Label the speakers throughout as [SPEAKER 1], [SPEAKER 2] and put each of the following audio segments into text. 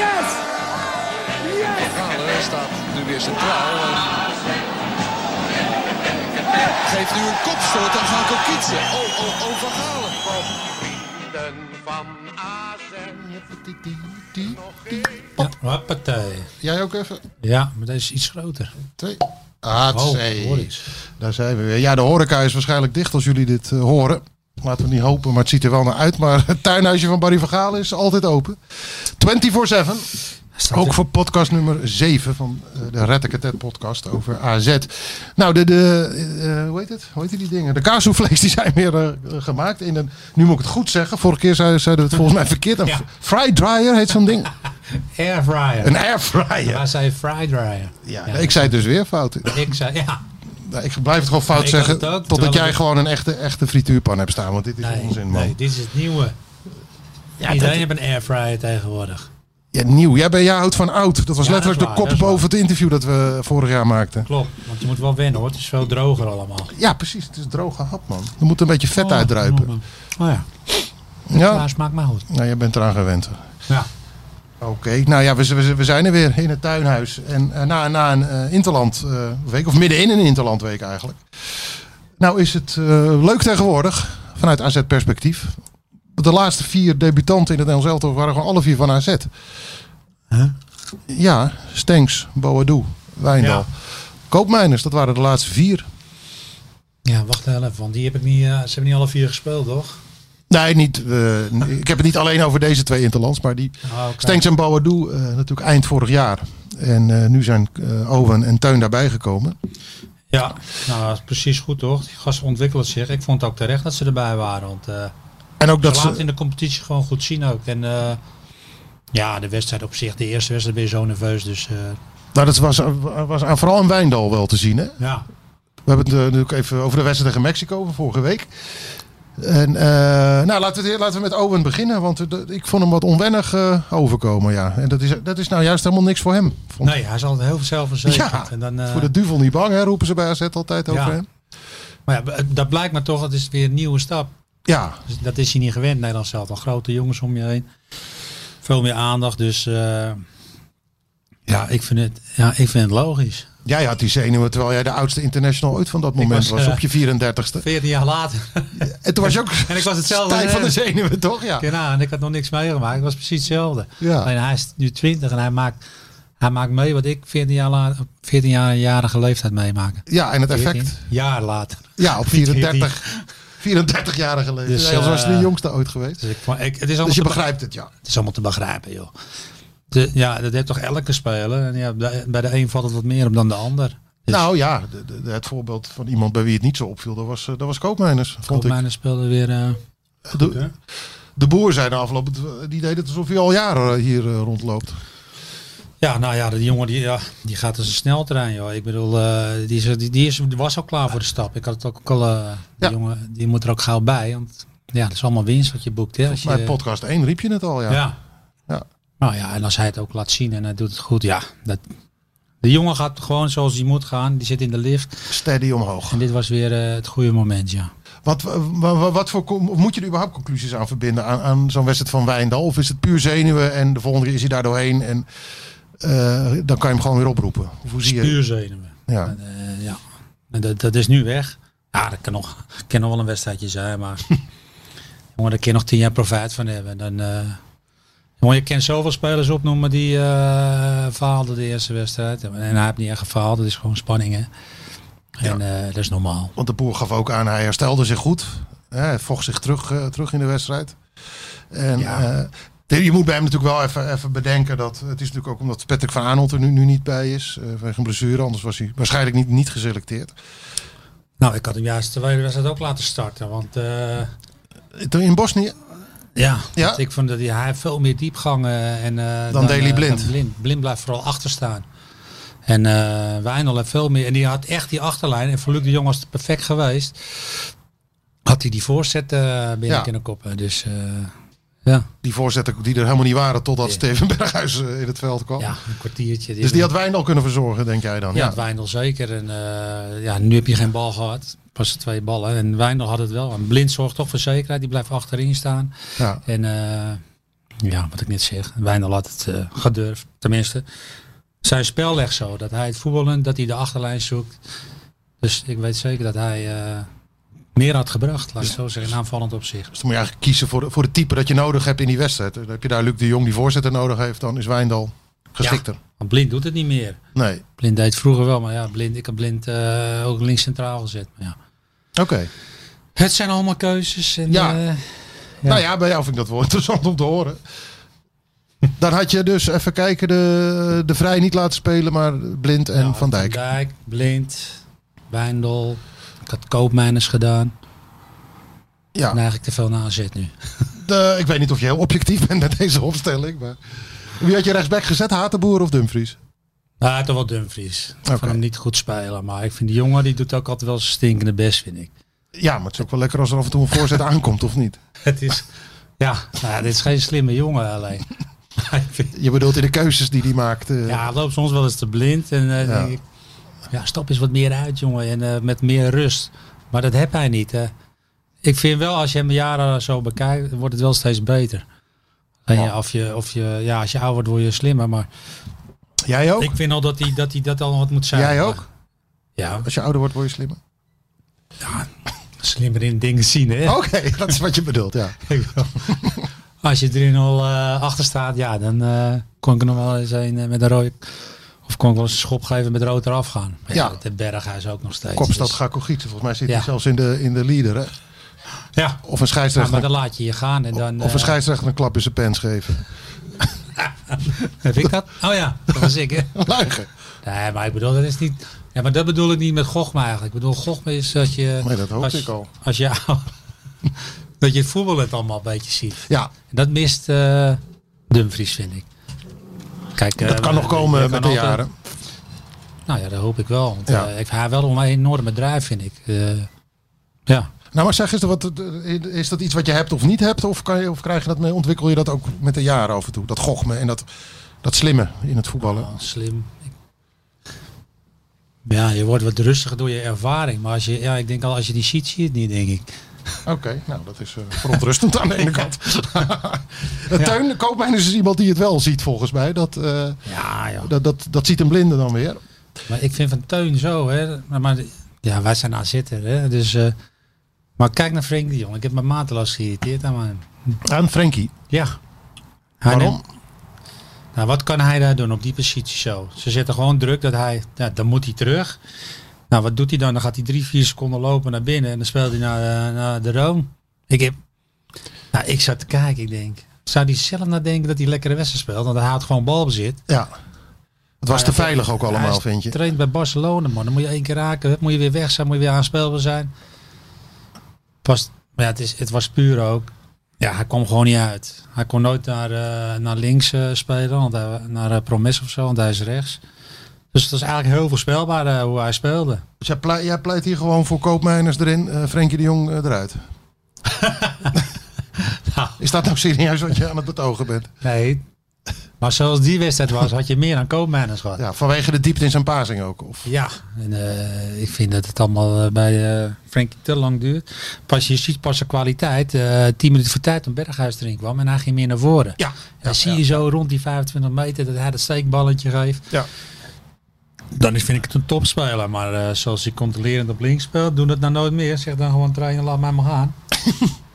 [SPEAKER 1] Yes! Yes!
[SPEAKER 2] Galen staat nu weer centraal. En geeft nu een kopstoot aan Van Kokitsen. Oh, oh, oh, Van Galen.
[SPEAKER 3] Die, die, die, die.
[SPEAKER 4] Ja, hoppatee.
[SPEAKER 3] Jij ook even?
[SPEAKER 4] Ja, maar deze is iets groter.
[SPEAKER 3] Twee. Ah,
[SPEAKER 4] Oh,
[SPEAKER 3] twee.
[SPEAKER 4] hoor eens.
[SPEAKER 3] Daar zijn we weer. Ja, de horeca is waarschijnlijk dicht als jullie dit eh, horen. Laten we niet hopen, maar het ziet er wel naar uit. Maar het tuinhuisje van Barry van Galen is altijd open. 24-7.
[SPEAKER 4] Staat
[SPEAKER 3] Ook
[SPEAKER 4] er-
[SPEAKER 3] voor podcast nummer 7 van eh, de Rettekatet podcast over AZ. Nou, de, de eh, hoe heet het? Hoe heet die dingen? De kaassoufflés die zijn weer eh, gemaakt in een, nu moet ik het goed zeggen, vorige keer zei- zeiden we het volgens mij verkeerd. Een
[SPEAKER 4] Ja.
[SPEAKER 3] fry dryer heet zo'n ding.
[SPEAKER 4] Airfryer.
[SPEAKER 3] Een airfryer.
[SPEAKER 4] Hij zei fry dryer.
[SPEAKER 3] Ja, ik zei het dus weer fout.
[SPEAKER 4] Ik zei, ja.
[SPEAKER 3] Nou, Ik blijf het gewoon fout
[SPEAKER 4] Ik had
[SPEAKER 3] zeggen
[SPEAKER 4] het ook,
[SPEAKER 3] totdat
[SPEAKER 4] terwijl
[SPEAKER 3] jij
[SPEAKER 4] ik-
[SPEAKER 3] gewoon een echte, echte frituurpan hebt staan, want dit is
[SPEAKER 4] Nee,
[SPEAKER 3] onzin man.
[SPEAKER 4] nee, dit is het nieuwe. Iedereen heeft een airfryer tegenwoordig.
[SPEAKER 3] Ja, nieuw. Jij, bent, jij houdt van oud. Dat was
[SPEAKER 4] Ja, dat is
[SPEAKER 3] letterlijk
[SPEAKER 4] waar,
[SPEAKER 3] de
[SPEAKER 4] dat
[SPEAKER 3] kop
[SPEAKER 4] is
[SPEAKER 3] boven
[SPEAKER 4] waar.
[SPEAKER 3] het interview dat we vorig jaar maakten.
[SPEAKER 4] Klopt, want je moet wel wennen hoor. Het is veel droger allemaal.
[SPEAKER 3] Ja, precies. Het is droge hap man. Er moet een beetje vet uitdruipen.
[SPEAKER 4] Oh ja,
[SPEAKER 3] Ja,
[SPEAKER 4] maar smaakt maar goed.
[SPEAKER 3] Nou, jij bent eraan gewend.
[SPEAKER 4] Ja.
[SPEAKER 3] Oké, nou ja, we, z- we, z- we zijn er weer in het tuinhuis. En eh, na, na een eh, interlandweek, of midden in een interlandweek eigenlijk. Nou is het eh, leuk tegenwoordig, vanuit AZ-perspectief. De laatste vier debutanten in het Nederlands elftal waren gewoon alle vier van AZ. Ja, Stenks, Boadou, Wijndal.
[SPEAKER 4] Ja.
[SPEAKER 3] Koopmijners, dat waren de laatste vier.
[SPEAKER 4] ja, wacht even, want die heb ik niet, eh, ze hebben niet alle vier gespeeld toch?
[SPEAKER 3] Nee, niet, eh, ik heb het niet alleen over deze twee interlands, maar die
[SPEAKER 4] Ah, oké.
[SPEAKER 3] Stenks en Boadou eh, natuurlijk eind vorig jaar. En eh, nu zijn eh, Owen en Teun daarbij gekomen.
[SPEAKER 4] Ja, nou dat is precies goed toch? Die gasten ontwikkelen zich. Ik vond het ook terecht dat ze erbij waren. Want eh,
[SPEAKER 3] En ook dat
[SPEAKER 4] ze laten
[SPEAKER 3] ze...
[SPEAKER 4] in de competitie gewoon goed zien ook. En eh, ja, de wedstrijd op zich, de eerste wedstrijd ben je zo nerveus. Dus eh,
[SPEAKER 3] Nou, dat was, was aan vooral aan Wijndal wel te zien. Hè?
[SPEAKER 4] ja,
[SPEAKER 3] We hebben het eh, natuurlijk even over de wedstrijd tegen Mexico van vorige week. En, eh, nou, laten we, het- laten we met Owen beginnen. Want eh, dat- ik vond hem wat onwennig eh, overkomen, ja. En dat is, dat is nou juist helemaal niks voor hem. Vond
[SPEAKER 4] nee, hij is altijd heel zelfverzekerd.
[SPEAKER 3] Ja,
[SPEAKER 4] en dan, eh,
[SPEAKER 3] Voor de duivel niet bang, hè, roepen ze bij AZ altijd over
[SPEAKER 4] Ja.
[SPEAKER 3] hem.
[SPEAKER 4] Maar ja, b- dat blijkt maar toch, het is weer een nieuwe stap.
[SPEAKER 3] Ja,
[SPEAKER 4] Dus dat is hij niet gewend, Nederland zelf. Al grote jongens om je heen. Veel meer aandacht, dus eh, ja, ik vind het, ja, ik vind het logisch.
[SPEAKER 3] jij had die zenuwen terwijl jij de oudste international ooit van dat moment
[SPEAKER 4] was,
[SPEAKER 3] was.
[SPEAKER 4] eh,
[SPEAKER 3] Op je 34ste.
[SPEAKER 4] 14 jaar later.
[SPEAKER 3] En toen was je ook
[SPEAKER 4] En ik was hetzelfde. eh,
[SPEAKER 3] stijf van de zenuwen, toch? Ja.
[SPEAKER 4] Ja, en ik had nog niks meegemaakt. Ik was precies hetzelfde.
[SPEAKER 3] Ja.
[SPEAKER 4] Alleen hij is nu 20 en hij maakt, hij maakt mee wat ik 14 jaar later, 14 jaar, jarige leeftijd meemaak.
[SPEAKER 3] ja, en het effect.
[SPEAKER 4] 14 jaar later.
[SPEAKER 3] Ja, op 34. 34 jaar geleden.
[SPEAKER 4] Dus,
[SPEAKER 3] Dus, ja, was de
[SPEAKER 4] eh,
[SPEAKER 3] jongste ooit geweest.
[SPEAKER 4] Dus, ik, vond- ik, het, is allemaal
[SPEAKER 3] Dus je
[SPEAKER 4] te be-
[SPEAKER 3] begrijpt het, ja.
[SPEAKER 4] het is allemaal te begrijpen, joh. De- ja, dat heeft toch elke speler. En ja, bij bij de een valt het wat meer op dan de ander. Dus
[SPEAKER 3] Nou ja, de- de- de- het voorbeeld van iemand bij wie het niet zo opviel, dat was, eh, dat was Koopmeiners, vond ik.
[SPEAKER 4] Koopmijnen speelde weer... eh,
[SPEAKER 3] De, de boer zei de afloop, het- die deed het alsof hij al jaren eh, hier eh, rondloopt.
[SPEAKER 4] Ja, nou ja, die jongen die, ja, die gaat als een sneltrein, joh. Ik bedoel, eh, die, is, die, die is, die was al klaar voor de stap. Ik had het ook al, eh, die
[SPEAKER 3] Ja.
[SPEAKER 4] jongen, die moet er ook gauw bij. Want ja, dat is allemaal winst wat je boekt, hè. Als
[SPEAKER 3] Maar
[SPEAKER 4] je,
[SPEAKER 3] podcast 1 riep je het al, ja.
[SPEAKER 4] ja. ja.
[SPEAKER 3] Ja.
[SPEAKER 4] Nou ja, en als hij het ook laat zien en hij doet het goed, ja. Dat, de jongen gaat gewoon zoals hij moet gaan. Die zit in de lift.
[SPEAKER 3] Steady omhoog.
[SPEAKER 4] En dit was weer eh, het goede moment, ja.
[SPEAKER 3] Wat, wa- wa- wa- wat voor, com- of moet je er überhaupt conclusies aan verbinden aan, aan zo'n wedstrijd van Wijndal? Of is het puur zenuwen en de volgende keer is hij daar doorheen en eh, dan kan je hem gewoon weer oproepen? Of hoe zie je
[SPEAKER 4] Puur zenuwen.
[SPEAKER 3] ja.
[SPEAKER 4] Eh, ja. En dat, dat is nu weg. Ja, dat kan nog, kan nog wel een wedstrijdje zijn, maar jongen, daar kun je nog tien jaar profijt van hebben. Dan, eh, jongen, je kent zoveel spelers opnoemen die eh faalden de eerste wedstrijd. En hij heeft niet echt gefaald, dat is gewoon spanning, hè. En eh, dat is normaal.
[SPEAKER 3] Want de boer gaf ook aan, hij herstelde zich goed. Hè, Hij vocht zich terug, eh, terug in de wedstrijd. En
[SPEAKER 4] Ja.
[SPEAKER 3] eh, je moet bij hem natuurlijk wel even, even bedenken dat het is natuurlijk ook omdat Patrick van Aanholt er nu, nu niet bij is. eh vanwege een blessure, anders was hij waarschijnlijk niet, niet geselecteerd.
[SPEAKER 4] Nou, ik had hem juist de tweede wedstrijd ook laten starten, want... eh,
[SPEAKER 3] Toen In Bosnië,
[SPEAKER 4] Ja,
[SPEAKER 3] Ja.
[SPEAKER 4] want ik vond dat hij, hij heeft veel meer diepgang eh, en, eh,
[SPEAKER 3] Daley
[SPEAKER 4] eh,
[SPEAKER 3] Blind.
[SPEAKER 4] dan Blind. Blind blijft vooral achterstaan. En eh Wijnal heeft veel meer. En die had echt die achterlijn. En voor Luc de Jong was het perfect geweest. Had hij die voorzet eh binnen
[SPEAKER 3] Ja.
[SPEAKER 4] kunnen koppen. Dus eh, ja.
[SPEAKER 3] Die voorzetten die er helemaal niet waren totdat Steven Berghuis eh, in het veld kwam.
[SPEAKER 4] ja, een kwartiertje.
[SPEAKER 3] Dus die had Wijndal kunnen verzorgen, denk jij dan?
[SPEAKER 4] Ja, het Wijndal zeker. En eh, ja, nu heb je geen bal gehad. Pas twee ballen. En Wijndal had het wel. En Blind zorgt toch voor zekerheid. Die blijft achterin staan.
[SPEAKER 3] Ja. Dus
[SPEAKER 4] En eh, ja, wat ik net zeg. Wijndal had het eh, gedurfd. Tenminste, zijn spel legt zo. Dat hij het voetballen, dat hij de achterlijn zoekt. Dus ik weet zeker dat hij eh, meer had gebracht. Laat ik zo zeggen. In aanvallend opzicht.
[SPEAKER 3] Dus dan moet je eigenlijk kiezen voor, voor het type dat je nodig hebt in die wedstrijd. Dan heb je daar Luc de Jong die voorzitter nodig heeft, dan is Wijndal geschikter.
[SPEAKER 4] Want Blind doet het niet meer.
[SPEAKER 3] Nee.
[SPEAKER 4] Blind deed het vroeger wel. Maar ja, Blind, ik heb Blind eh, ook links centraal gezet. Maar ja.
[SPEAKER 3] Oké.
[SPEAKER 4] Het zijn allemaal keuzes. En,
[SPEAKER 3] Ja.
[SPEAKER 4] eh,
[SPEAKER 3] Nou ja, bij jou vind ik dat wel interessant om te horen. Dan had je dus, even kijken, de, de Vrij niet laten spelen, maar Blind en
[SPEAKER 4] Ja,
[SPEAKER 3] Van Dijk.
[SPEAKER 4] Van Dijk, Blind, Wijndal. Ik had koopmijners gedaan.
[SPEAKER 3] Ja,
[SPEAKER 4] En eigenlijk te veel naar AZ nu.
[SPEAKER 3] de- ik weet niet of je heel objectief bent met deze opstelling. Maar... Wie had je rechtsback gezet, Hatenboer of Dumfries?
[SPEAKER 4] Maar toch Nou, wel Dumfries. Ik
[SPEAKER 3] Oké.
[SPEAKER 4] vond hem niet goed spelen. Maar ik vind die jongen, die doet ook altijd wel zijn stinkende best, vind ik.
[SPEAKER 3] Ja, maar het is ook wel lekker als er af en toe een voorzet aankomt, of niet?
[SPEAKER 4] Het is... Ja, nou, dit is geen slimme jongen alleen. Maar ik vind-
[SPEAKER 3] Je bedoelt in de keuzes die hij maakt. eh,
[SPEAKER 4] ja, hij loopt soms wel eens te blind. En eh,
[SPEAKER 3] Ja.
[SPEAKER 4] denk ik, ja, stap eens wat meer uit, jongen. En eh, met meer rust. Maar dat heb hij niet. Hè. Ik vind wel, als je hem jaren zo bekijkt, wordt het wel steeds beter. En ja, of je, of je, ja, als je ouder wordt, word je slimmer. Maar
[SPEAKER 3] Jij ook?
[SPEAKER 4] ik vind al dat hij dat, hij dat al wat moet zijn.
[SPEAKER 3] Jij ook?
[SPEAKER 4] Ja,
[SPEAKER 3] Als je ouder wordt, word je slimmer.
[SPEAKER 4] slimmer in dingen zien, hè.
[SPEAKER 3] Oké, dat is wat je bedoelt, ja.
[SPEAKER 4] Als je erin al achter staat, ja, dan eh, kon ik er nog wel eens een eh, met een rood... Of kon ik wel eens een schop geven met rood eraf gaan. Maar ja,
[SPEAKER 3] Ja.
[SPEAKER 4] de Berghuis ook nog steeds.
[SPEAKER 3] Kopstad
[SPEAKER 4] dus-
[SPEAKER 3] Gakogieten, volgens mij zit hij
[SPEAKER 4] Ja.
[SPEAKER 3] zelfs in de, in de leader. Hè?
[SPEAKER 4] Ja,
[SPEAKER 3] Of een
[SPEAKER 4] Ja, maar
[SPEAKER 3] scheidsrechter,
[SPEAKER 4] dan laat je je gaan en dan...
[SPEAKER 3] of een
[SPEAKER 4] eh,
[SPEAKER 3] scheidsrechter een klap in zijn pens geven.
[SPEAKER 4] Heb ik dat? Oh ja, dat was ik, hè?
[SPEAKER 3] Luigen.
[SPEAKER 4] Nee, maar ik bedoel, dat is niet... Ja, maar dat bedoel ik niet met Gochme eigenlijk. Ik bedoel, Gochme is dat je...
[SPEAKER 3] Nee, dat hoopte
[SPEAKER 4] als,
[SPEAKER 3] ik al.
[SPEAKER 4] Als je... dat je het voetbal het allemaal een beetje ziet.
[SPEAKER 3] Ja,
[SPEAKER 4] En dat mist eh, Dumfries, vind ik. Kijk, eh,
[SPEAKER 3] dat kan nog komen met de jaren.
[SPEAKER 4] Nou ja, dat hoop ik wel. Want
[SPEAKER 3] Ja.
[SPEAKER 4] eh, ik haar wel om een enorme drive, vind ik. Eh, ja.
[SPEAKER 3] Nou, maar zeg eens, wat, is dat iets wat je hebt of niet hebt? Of, kan je, of krijg je dat mee, ontwikkel je dat ook met de jaren af en toe? Dat gochme en dat, dat slimme in het voetballen.
[SPEAKER 4] Slim. Ja, je wordt wat rustiger door je ervaring. Maar als je, ja, ik denk al, als je die ziet, zie je het niet, denk ik.
[SPEAKER 3] Oké, nou dat is eh, verontrustend aan de ene kant. Eh, Teun, Koopmijn is iemand die het wel ziet volgens mij. Dat, eh,
[SPEAKER 4] Ja, ja.
[SPEAKER 3] dat, dat, dat ziet een blinde dan weer.
[SPEAKER 4] Maar ik vind van Teun zo, hè. Maar, maar ja, wij zijn aan zitten, hè. Dus, eh, maar kijk naar Frank de Jong. Ik heb me mateloos geïrriteerd aan hem.
[SPEAKER 3] Aan Frenkie.
[SPEAKER 4] Ja. Hij
[SPEAKER 3] Waarom?
[SPEAKER 4] neemt- nou, wat kan hij daar doen op die positie zo? Ze zetten gewoon druk dat hij, ja, dan moet hij terug. Nou, wat doet hij dan? Dan gaat hij drie, vier seconden lopen naar binnen en dan speelt hij naar, eh, naar de Room. Ik heb, nou, ik zat te kijken, ik denk. Zou hij zelf nadenken dat hij lekkere wedstrijd speelt? Want hij haalt gewoon balbezit.
[SPEAKER 3] Ja. Het was
[SPEAKER 4] ja,
[SPEAKER 3] te veilig ook
[SPEAKER 4] hij
[SPEAKER 3] allemaal,
[SPEAKER 4] is
[SPEAKER 3] vind je?
[SPEAKER 4] traint bij Barcelona, man. Dan moet je één keer raken, dan moet je weer weg zijn, moet je weer aanspelbaar zijn. Pas, maar ja, het, is, het was puur ook. Ja, hij kwam gewoon niet uit. Hij kon nooit naar, eh, naar links eh, spelen, want hij, naar eh, Promes of zo, want hij is rechts. Dus het was eigenlijk heel voorspelbaar eh, hoe hij speelde.
[SPEAKER 3] Dus jij pleit, jij pleit hier gewoon voor koopmijners erin, eh Frenkie de Jong eh, eruit.
[SPEAKER 4] Nou.
[SPEAKER 3] Is dat nou serieus wat je aan het betogen bent?
[SPEAKER 4] Nee. Maar zoals die wedstrijd was, had je meer aan koopmijners gehad. Ja.
[SPEAKER 3] Ja, vanwege de diepte in zijn pasing ook. Of,
[SPEAKER 4] en eh, ik vind dat het allemaal eh, bij eh Frankie te lang duurt. Pas je ziet pas zijn kwaliteit. eh, Tien minuten voor tijd toen Berghuis erin kwam en hij ging meer naar voren.
[SPEAKER 3] ja,
[SPEAKER 4] Dan zie je zo rond die 25 meter dat hij dat steekballetje geeft.
[SPEAKER 3] Ja.
[SPEAKER 4] Dan vind ik het een topspeler. Maar eh, zoals hij controlerend op links speelt, doe dat nou nooit meer. Zeg dan gewoon trainen, laat mij maar gaan.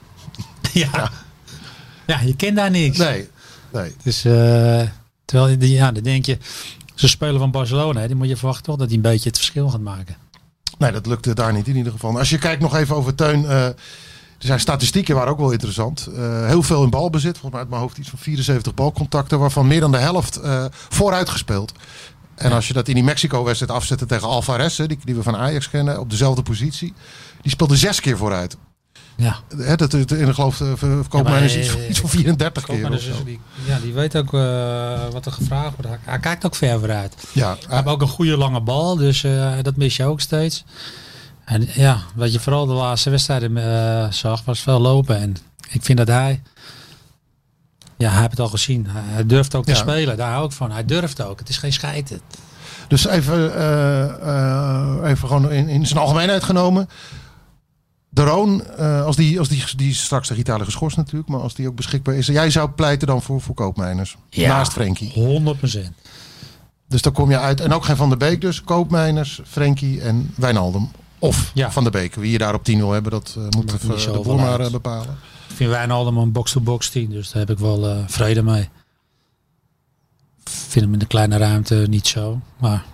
[SPEAKER 4] ja. ja, je kent daar niks.
[SPEAKER 3] Nee, nee.
[SPEAKER 4] Dus, eh, terwijl, je- ja, dan denk je, zo'n speler van Barcelona, hè, die moet je verwachten toch dat hij een beetje het verschil gaat maken.
[SPEAKER 3] Nee, dat lukte daar niet in ieder geval. Als je kijkt nog even over Teun. eh, er zijn statistieken waren ook wel interessant. Eh, heel veel in balbezit. Volgens mij uit mijn hoofd iets van 74 balcontacten. Waarvan meer dan de helft eh, vooruit gespeeld. En als je dat in die Mexico-wedstrijd afzette tegen Alvarez. hè, Die, die we van Ajax kennen. Op dezelfde positie. Die speelde zes keer vooruit.
[SPEAKER 4] Ja.
[SPEAKER 3] Hè, dat, dat, in de geloof eh, ver- Koopman is iets,
[SPEAKER 4] eh,
[SPEAKER 3] iets van 34 keer
[SPEAKER 4] Koopman
[SPEAKER 3] of
[SPEAKER 4] is dus
[SPEAKER 3] zo.
[SPEAKER 4] die, ja, die weet ook eh, wat er gevraagd wordt. Hij, hij kijkt ook ver vooruit. Hij
[SPEAKER 3] Ja,
[SPEAKER 4] heeft ook een goede lange bal, dus eh, dat mis je ook steeds. En ja, wat je vooral de laatste wedstrijden eh, zag, was veel lopen. En ik vind dat hij, ja, hij heeft het al gezien. Hij, hij durft ook
[SPEAKER 3] Ja.
[SPEAKER 4] te spelen, daar hou ik van. Hij durft ook, het is geen scheiden.
[SPEAKER 3] Dus even, eh, eh, even gewoon in, in zijn algemeenheid genomen. De Roon, eh, als, die, als die, die is straks tegen Italië geschorst natuurlijk, maar als die ook beschikbaar is. Jij zou pleiten dan voor, voor koopmijners.
[SPEAKER 4] Ja.
[SPEAKER 3] Naast Frenkie.
[SPEAKER 4] 100%.
[SPEAKER 3] Dus dan kom je uit. En ook geen Van der Beek dus. Koopmijners, Frenkie en Wijnaldum. Of
[SPEAKER 4] Ja.
[SPEAKER 3] Van der Beek. Wie je daar op 10-0 hebben, dat eh, moet
[SPEAKER 4] Maakt
[SPEAKER 3] de,
[SPEAKER 4] niet
[SPEAKER 3] de
[SPEAKER 4] zoveel
[SPEAKER 3] boer maar
[SPEAKER 4] uit.
[SPEAKER 3] eh, bepalen.
[SPEAKER 4] Ik vind Wijnaldum een box-to-box team, dus daar heb ik wel eh, vrede mee. Ik vind hem in de kleine ruimte niet zo, maar...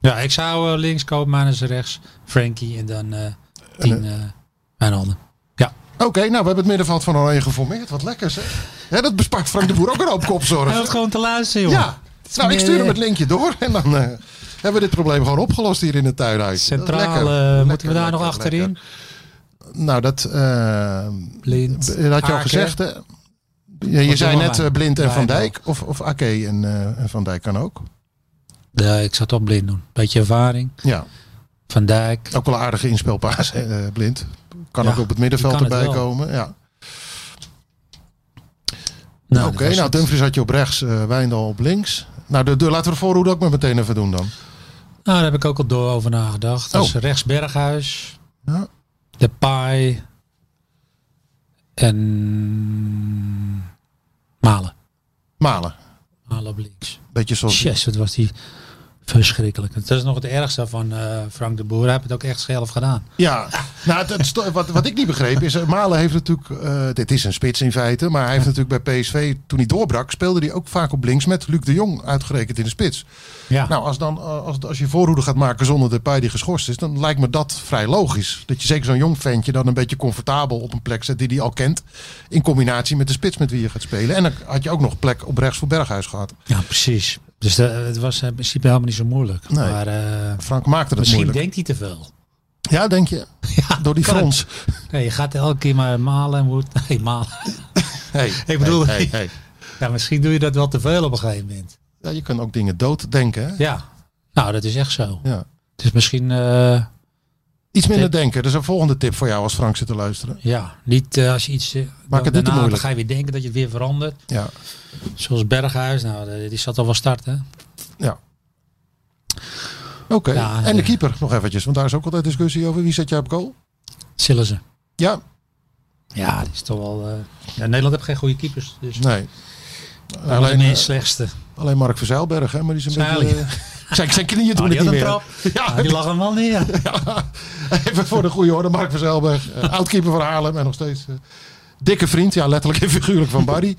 [SPEAKER 4] Ja, ik zou eh, links kopen, is rechts, Frankie en dan eh tien eh Wijnaldum.
[SPEAKER 3] Oké, nou we hebben het middenveld van Oranje geformeerd. Wat lekker zeg. Ja, dat bespaart Frank de Boer ook een hoop kopzorg.
[SPEAKER 4] gewoon te luisteren,
[SPEAKER 3] Ja, nou ik
[SPEAKER 4] meer-
[SPEAKER 3] stuur hem het linkje door en dan eh, hebben we dit probleem gewoon opgelost hier in het tuinhuis.
[SPEAKER 4] Centraal, eh, moeten we daar nog achterin?
[SPEAKER 3] Nou, dat eh,
[SPEAKER 4] Blind,
[SPEAKER 3] b- dat had je al
[SPEAKER 4] Aken.
[SPEAKER 3] gezegd. hè? Ja, je
[SPEAKER 4] Wat
[SPEAKER 3] zei
[SPEAKER 4] doen we
[SPEAKER 3] net
[SPEAKER 4] bij-
[SPEAKER 3] eh, Blind en
[SPEAKER 4] bij
[SPEAKER 3] Van
[SPEAKER 4] nog?
[SPEAKER 3] Dijk. Of, of Ake en, eh, en Van Dijk kan ook.
[SPEAKER 4] Ja, ik zou toch blind doen. Beetje ervaring.
[SPEAKER 3] Ja,
[SPEAKER 4] Van Dijk.
[SPEAKER 3] ook wel een aardige inspelpaas, eh, Blind. Kan
[SPEAKER 4] Ja,
[SPEAKER 3] ook op het middenveld
[SPEAKER 4] die kan het
[SPEAKER 3] erbij
[SPEAKER 4] wel.
[SPEAKER 3] komen. Ja.
[SPEAKER 4] Nou,
[SPEAKER 3] Oké,
[SPEAKER 4] dat was
[SPEAKER 3] nou
[SPEAKER 4] het.
[SPEAKER 3] Dumfries had je op rechts, eh Wijndal op links. Nou, de, de, laten we de voorhoede ook maar meteen even doen dan.
[SPEAKER 4] Nou, daar heb ik ook al door over nagedacht. Dus rechts Berghuis.
[SPEAKER 3] Ja.
[SPEAKER 4] De Pai. En Malen.
[SPEAKER 3] Malen,
[SPEAKER 4] Malen op links.
[SPEAKER 3] beetje zoals...
[SPEAKER 4] Yes, wat was die verschrikkelijk. Dat is nog het ergste van eh, Frank de Boer. Hij heeft het ook echt zelf gedaan.
[SPEAKER 3] Ja, nou, het- het sto- wat, wat ik niet begreep is, eh, Malen heeft natuurlijk, eh, dit is een spits in feite, maar hij heeft natuurlijk bij PSV, toen hij doorbrak, speelde hij ook vaak op links met Luc de Jong uitgerekend in de spits.
[SPEAKER 4] Ja.
[SPEAKER 3] Nou, als, dan, eh, als, als je voorhoede gaat maken zonder de paai die geschorst is, dan lijkt me dat vrij logisch. Dat je zeker zo'n jong ventje dan een beetje comfortabel op een plek zet die hij al kent, in combinatie met de spits met wie je gaat spelen. En dan had je ook nog plek op rechts voor Berghuis gehad.
[SPEAKER 4] ja, precies. Dus de- het was in principe helemaal niet zo moeilijk.
[SPEAKER 3] Nee.
[SPEAKER 4] Maar eh,
[SPEAKER 3] Frank maakte dat
[SPEAKER 4] misschien
[SPEAKER 3] moeilijk.
[SPEAKER 4] denkt hij te veel.
[SPEAKER 3] Ja, denk je? Door die
[SPEAKER 4] kan het.
[SPEAKER 3] frons.
[SPEAKER 4] Nee, je gaat elke keer maar malen en moet. Nee, malen.
[SPEAKER 3] Hey,
[SPEAKER 4] Ik bedoel-
[SPEAKER 3] hey, hey, hey.
[SPEAKER 4] Ja, misschien doe je dat wel te veel op een gegeven moment.
[SPEAKER 3] Ja, je kan ook dingen dooddenken, hè?
[SPEAKER 4] Ja. Nou, dat is echt zo.
[SPEAKER 3] Ja.
[SPEAKER 4] Het is misschien eh,
[SPEAKER 3] Iets minder
[SPEAKER 4] Tip.
[SPEAKER 3] denken. Dus een volgende tip voor jou als Frank zit te luisteren.
[SPEAKER 4] ja, niet eh, als je iets. eh,
[SPEAKER 3] het niet te
[SPEAKER 4] daarna
[SPEAKER 3] moeilijk.
[SPEAKER 4] ga je weer denken dat je het weer verandert.
[SPEAKER 3] Ja.
[SPEAKER 4] Zoals Berghuis, nou, eh, die zat al wel start, hè?
[SPEAKER 3] ja. Oké.
[SPEAKER 4] Ja,
[SPEAKER 3] en de
[SPEAKER 4] ja.
[SPEAKER 3] keeper nog eventjes. Want daar is ook altijd discussie over. Wie zet jij op goal?
[SPEAKER 4] Zullen ze.
[SPEAKER 3] Ja.
[SPEAKER 4] Ja, dat is toch wel. eh, ja, Nederland heeft geen goede keepers. Dus
[SPEAKER 3] Nee.
[SPEAKER 4] alleen
[SPEAKER 3] Nou, Alleen,
[SPEAKER 4] de
[SPEAKER 3] eh,
[SPEAKER 4] slechtste.
[SPEAKER 3] alleen Mark Verzeilberg. Hè, maar die is een beetje...
[SPEAKER 4] Zeilie.
[SPEAKER 3] eh, zijn, zijn knieën doen
[SPEAKER 4] Ah, die
[SPEAKER 3] het
[SPEAKER 4] had
[SPEAKER 3] niet
[SPEAKER 4] een trap.
[SPEAKER 3] meer. Ja,
[SPEAKER 4] Ah, die lag hem wel neer.
[SPEAKER 3] even voor de goede orde. Mark Verzeilberg. eh, oudkeeper van Haarlem. En nog steeds eh, dikke vriend. Ja, letterlijk en figuurlijk van Barry.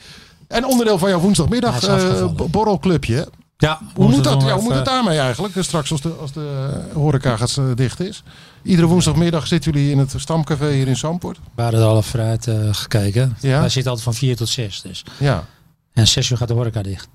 [SPEAKER 3] En onderdeel van jouw woensdagmiddag
[SPEAKER 4] Hij is
[SPEAKER 3] eh,
[SPEAKER 4] afgevallen.
[SPEAKER 3] bo- borrelclubje. hè?
[SPEAKER 4] Ja,
[SPEAKER 3] Hoe moet dat?
[SPEAKER 4] doen
[SPEAKER 3] Ja,
[SPEAKER 4] we
[SPEAKER 3] hoe moet
[SPEAKER 4] even-
[SPEAKER 3] het daarmee eigenlijk? Dus straks als de, als de horeca gaat, eh, dicht is. Iedere woensdagmiddag zitten jullie in het stamcafé hier in Zandpoort.
[SPEAKER 4] We hadden er al even vooruit eh, gekeken.
[SPEAKER 3] Ja.
[SPEAKER 4] Wij zitten altijd van 4 tot 6. Dus.
[SPEAKER 3] Ja,
[SPEAKER 4] En 6 uur gaat de horeca dicht.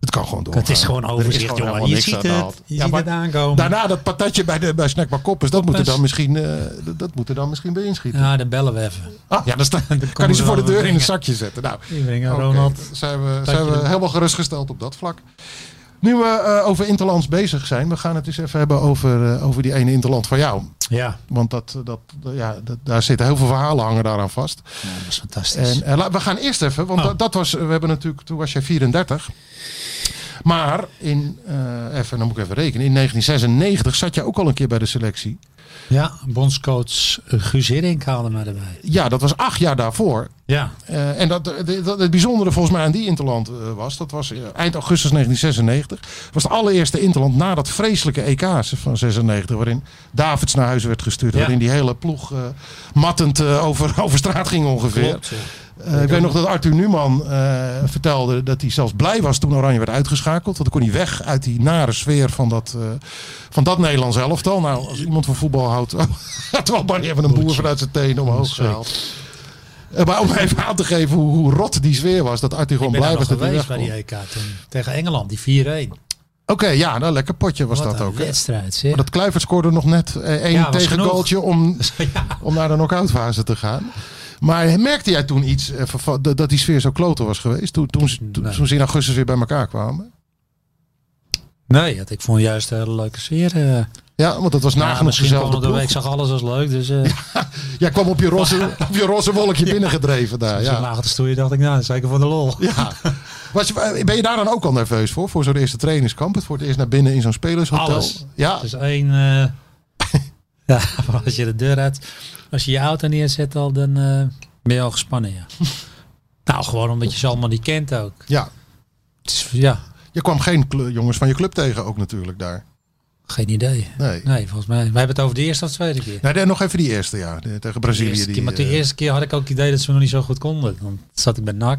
[SPEAKER 3] het kan Oh, gewoon door.
[SPEAKER 4] Het is gewoon overzicht, jongen. Je ziet het, je ziet het aankomen.
[SPEAKER 3] Daarna dat patatje bij, de, bij Snackbar Koppers, dat moet er
[SPEAKER 4] Dus-
[SPEAKER 3] dan misschien, eh, dat- dat moet er dan misschien bij inschieten.
[SPEAKER 4] Ja, dan bellen we even.
[SPEAKER 3] Ah, ja, dan, sta- kan hij
[SPEAKER 4] we
[SPEAKER 3] ze voor de
[SPEAKER 4] wel
[SPEAKER 3] deur in
[SPEAKER 4] brengen.
[SPEAKER 3] een zakje zetten. Nou,
[SPEAKER 4] Die brengen
[SPEAKER 3] Oké,
[SPEAKER 4] Ronald.
[SPEAKER 3] Zijn we,
[SPEAKER 4] Dank
[SPEAKER 3] zijn we
[SPEAKER 4] jullie.
[SPEAKER 3] helemaal gerustgesteld op dat vlak. Nu we eh, over Interlands bezig zijn, we gaan het eens even hebben over, eh, over die ene Interland van jou.
[SPEAKER 4] Ja,
[SPEAKER 3] Want dat, dat, ja, dat, daar zitten heel veel verhalen hangen daaraan vast.
[SPEAKER 4] dat is fantastisch.
[SPEAKER 3] En, eh, la- we gaan eerst even, want
[SPEAKER 4] Oh.
[SPEAKER 3] dat, dat was, we hebben natuurlijk, toen was jij 34. Maar in, eh, even, dan moet ik even rekenen, in 1996 zat jij ook al een keer bij de selectie.
[SPEAKER 4] ja, bondscoach eh, Guus Hiddink haalde mij erbij.
[SPEAKER 3] Ja, dat was acht jaar daarvoor.
[SPEAKER 4] Ja,
[SPEAKER 3] Eh, en dat, de- dat, het bijzondere volgens mij aan die Interland eh, was, dat was eh, eind augustus 1996. was de allereerste Interland na dat vreselijke EK van 96, waarin Davids naar huis werd gestuurd.
[SPEAKER 4] Ja.
[SPEAKER 3] Waarin die hele ploeg eh, mattend eh, over, over straat ging ongeveer.
[SPEAKER 4] klopt.
[SPEAKER 3] Eh, ik weet nog dat Arthur Numan eh, vertelde dat hij zelfs blij was toen Oranje werd uitgeschakeld. Want dan kon hij weg uit die nare sfeer van dat, eh, van dat Nederlands elftal. Nou, als iemand van voetbal houdt, had wel Barry even een boer vanuit zijn tenen omhoog
[SPEAKER 4] Sorry.
[SPEAKER 3] gehaald. Eh, maar om even aan te geven hoe, hoe rot die sfeer was, dat Arthur
[SPEAKER 4] Ik
[SPEAKER 3] gewoon
[SPEAKER 4] ben daar
[SPEAKER 3] blij
[SPEAKER 4] nog
[SPEAKER 3] was dat hij
[SPEAKER 4] geweest bij E
[SPEAKER 3] weg
[SPEAKER 4] die EK toen. Tegen Engeland, die 4-1.
[SPEAKER 3] Oké, ja, nou lekker potje was
[SPEAKER 4] Wat
[SPEAKER 3] dat
[SPEAKER 4] een
[SPEAKER 3] ook. hè.
[SPEAKER 4] wedstrijd, zeg.
[SPEAKER 3] Maar dat Kluivert scoorde nog net eh, één
[SPEAKER 4] Ja, was
[SPEAKER 3] tegengoaltje om,
[SPEAKER 4] Ja.
[SPEAKER 3] om naar de knock-out fase te gaan. Maar merkte jij toen iets, eh, van- van- dat dat die sfeer zo kloten was geweest, toen, toen, ze- toen,
[SPEAKER 4] Nee.
[SPEAKER 3] toen ze in augustus weer bij elkaar kwamen?
[SPEAKER 4] Nee, dat- ik vond juist een hele leuke sfeer. eh.
[SPEAKER 3] Ja, want dat was
[SPEAKER 4] Ja,
[SPEAKER 3] nagenoeg
[SPEAKER 4] misschien kwam het
[SPEAKER 3] dezelfde
[SPEAKER 4] door,
[SPEAKER 3] ploeg.
[SPEAKER 4] ik zag alles als leuk, dus eh
[SPEAKER 3] Jij kwam op je roze, op je roze wolkje binnengedreven daar.
[SPEAKER 4] ja.
[SPEAKER 3] Ja.
[SPEAKER 4] laag te stoeien dacht ik, nou, dat is zeker van de lol.
[SPEAKER 3] Ja. Was, je- ben je daar dan ook al nerveus voor? Voor zo'n eerste trainingskamp? Het voor het eerst naar binnen in zo'n spelershotel?
[SPEAKER 4] Alles.
[SPEAKER 3] Ja,
[SPEAKER 4] Dus één, eh, ja, maar als je de deur uit, als je je auto neerzet al, dan eh, ben je al gespannen, ja. nou, gewoon omdat je ze allemaal niet kent ook.
[SPEAKER 3] ja.
[SPEAKER 4] Het is, ja,
[SPEAKER 3] Je kwam geen cl- jongens van je club tegen ook natuurlijk daar.
[SPEAKER 4] geen idee.
[SPEAKER 3] Nee.
[SPEAKER 4] Nee, volgens mij. Wij hebben het over de eerste of tweede keer.
[SPEAKER 3] Nou, daar nog even die eerste, ja. de- Tegen
[SPEAKER 4] De
[SPEAKER 3] Brazilië.
[SPEAKER 4] eerste
[SPEAKER 3] die,
[SPEAKER 4] keer, maar de
[SPEAKER 3] eh,
[SPEAKER 4] eerste keer had ik ook het idee dat ze me nog niet zo goed konden. Dan zat ik bij NAC.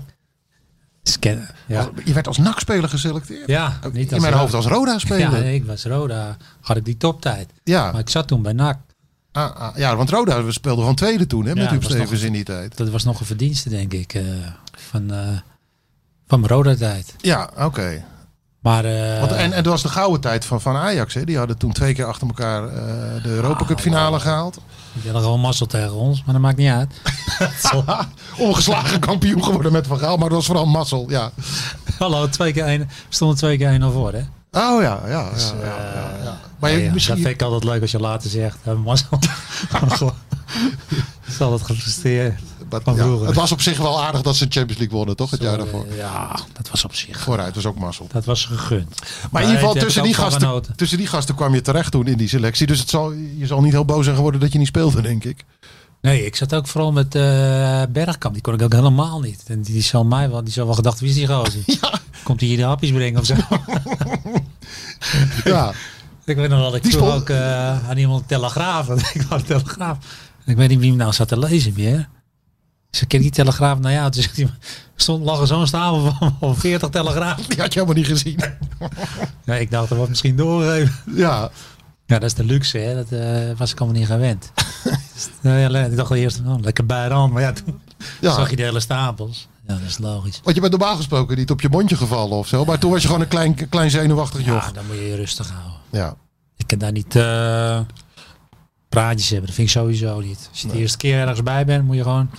[SPEAKER 4] Scannen. Ja,
[SPEAKER 3] Je werd als nakspeler geselecteerd?
[SPEAKER 4] ja
[SPEAKER 3] Ook
[SPEAKER 4] niet
[SPEAKER 3] in mijn
[SPEAKER 4] Roda.
[SPEAKER 3] hoofd als Roda-speler.
[SPEAKER 4] Ja,
[SPEAKER 3] Ja,
[SPEAKER 4] nee, ik was Roda. Had ik die toptijd.
[SPEAKER 3] ja.
[SPEAKER 4] Maar ik zat toen bij NAC.
[SPEAKER 3] Ah, ah, ja, want Roda we speelden gewoon tweede toen, hè, met
[SPEAKER 4] Ja,
[SPEAKER 3] Huub
[SPEAKER 4] was nog-
[SPEAKER 3] Stevens in die tijd.
[SPEAKER 4] Dat was nog een verdienste, denk ik. eh, van, eh, van mijn Roda-tijd.
[SPEAKER 3] Ja, oké.
[SPEAKER 4] Maar eh,
[SPEAKER 3] Want- en, en dat was de gouden tijd van, van Ajax, hè. Die hadden toen twee keer achter elkaar eh, de Europa
[SPEAKER 4] Ah,
[SPEAKER 3] Cup finale gehaald.
[SPEAKER 4] die hadden gewoon mazzel tegen ons. Maar dat maakt niet uit.
[SPEAKER 3] Ongeslagen kampioen geworden met Van Gaal, maar dat was vooral mazzel, ja.
[SPEAKER 4] Hallo, twee keer één. we stonden twee keer één al voor, hè?
[SPEAKER 3] Oh ja, ja, ja, ja, ja, ja. Maar
[SPEAKER 4] Dus, eh, Ja,
[SPEAKER 3] je-
[SPEAKER 4] ja,
[SPEAKER 3] misschien...
[SPEAKER 4] Dat vind ik altijd leuk als je later zegt. eh, mazzel. is altijd gefrustreerd.
[SPEAKER 3] maar-
[SPEAKER 4] van
[SPEAKER 3] ja,
[SPEAKER 4] vroeger.
[SPEAKER 3] het was op zich wel aardig dat ze de Champions League wonnen, toch? Het jaar
[SPEAKER 4] Eh,
[SPEAKER 3] daarvoor.
[SPEAKER 4] Ja, dat was op zich.
[SPEAKER 3] Vooruit was ook mazzel.
[SPEAKER 4] Dat was gegund.
[SPEAKER 3] Maar in ieder
[SPEAKER 4] daar
[SPEAKER 3] geval,
[SPEAKER 4] heb
[SPEAKER 3] tussen
[SPEAKER 4] ik
[SPEAKER 3] die,
[SPEAKER 4] ook van
[SPEAKER 3] gasten,
[SPEAKER 4] genoten.
[SPEAKER 3] tussen die gasten kwam je terecht toen in die selectie. Dus het zal, je zal niet heel boos zijn geworden dat je niet speelde, denk ik.
[SPEAKER 4] Nee, ik zat ook vooral met eh, Bergkamp. Die kon ik ook helemaal niet. En die, die zal mij wel, die zal wel gedacht, wie is die gozer? Komt hij hier de hapjes brengen of zo?
[SPEAKER 3] Ja,
[SPEAKER 4] ik weet nog dat ik
[SPEAKER 3] Die
[SPEAKER 4] toen
[SPEAKER 3] stond-
[SPEAKER 4] ook eh, aan iemand een telegraaf. want ik had een telegraaf. En ik weet niet wie hem nou zat te lezen meer. Dus ik ken die telegraaf. Nou ja, toen zegt hij, stond lag er zo'n stapel van, van 40 telegraaf.
[SPEAKER 3] die had je helemaal niet gezien.
[SPEAKER 4] Nee, ik dacht, dat wordt misschien doorgegeven.
[SPEAKER 3] Ja,
[SPEAKER 4] Ja, dat is de luxe, hè. Dat eh, was ik allemaal niet gewend. Dus, nou ja, ik dacht eerst, oh, lekker bij de hand. Maar ja, toen
[SPEAKER 3] ja.
[SPEAKER 4] zag je de hele stapels. Ja, dat is logisch.
[SPEAKER 3] Want je bent normaal gesproken niet op je mondje gevallen of zo. Maar toen was je gewoon een klein, klein zenuwachtig
[SPEAKER 4] Ja,
[SPEAKER 3] joch.
[SPEAKER 4] dan moet je je rustig houden.
[SPEAKER 3] Ja.
[SPEAKER 4] Ik kan daar niet eh, praatjes hebben. Dat vind ik sowieso niet. Als je de eerste keer ergens bij bent, moet je gewoon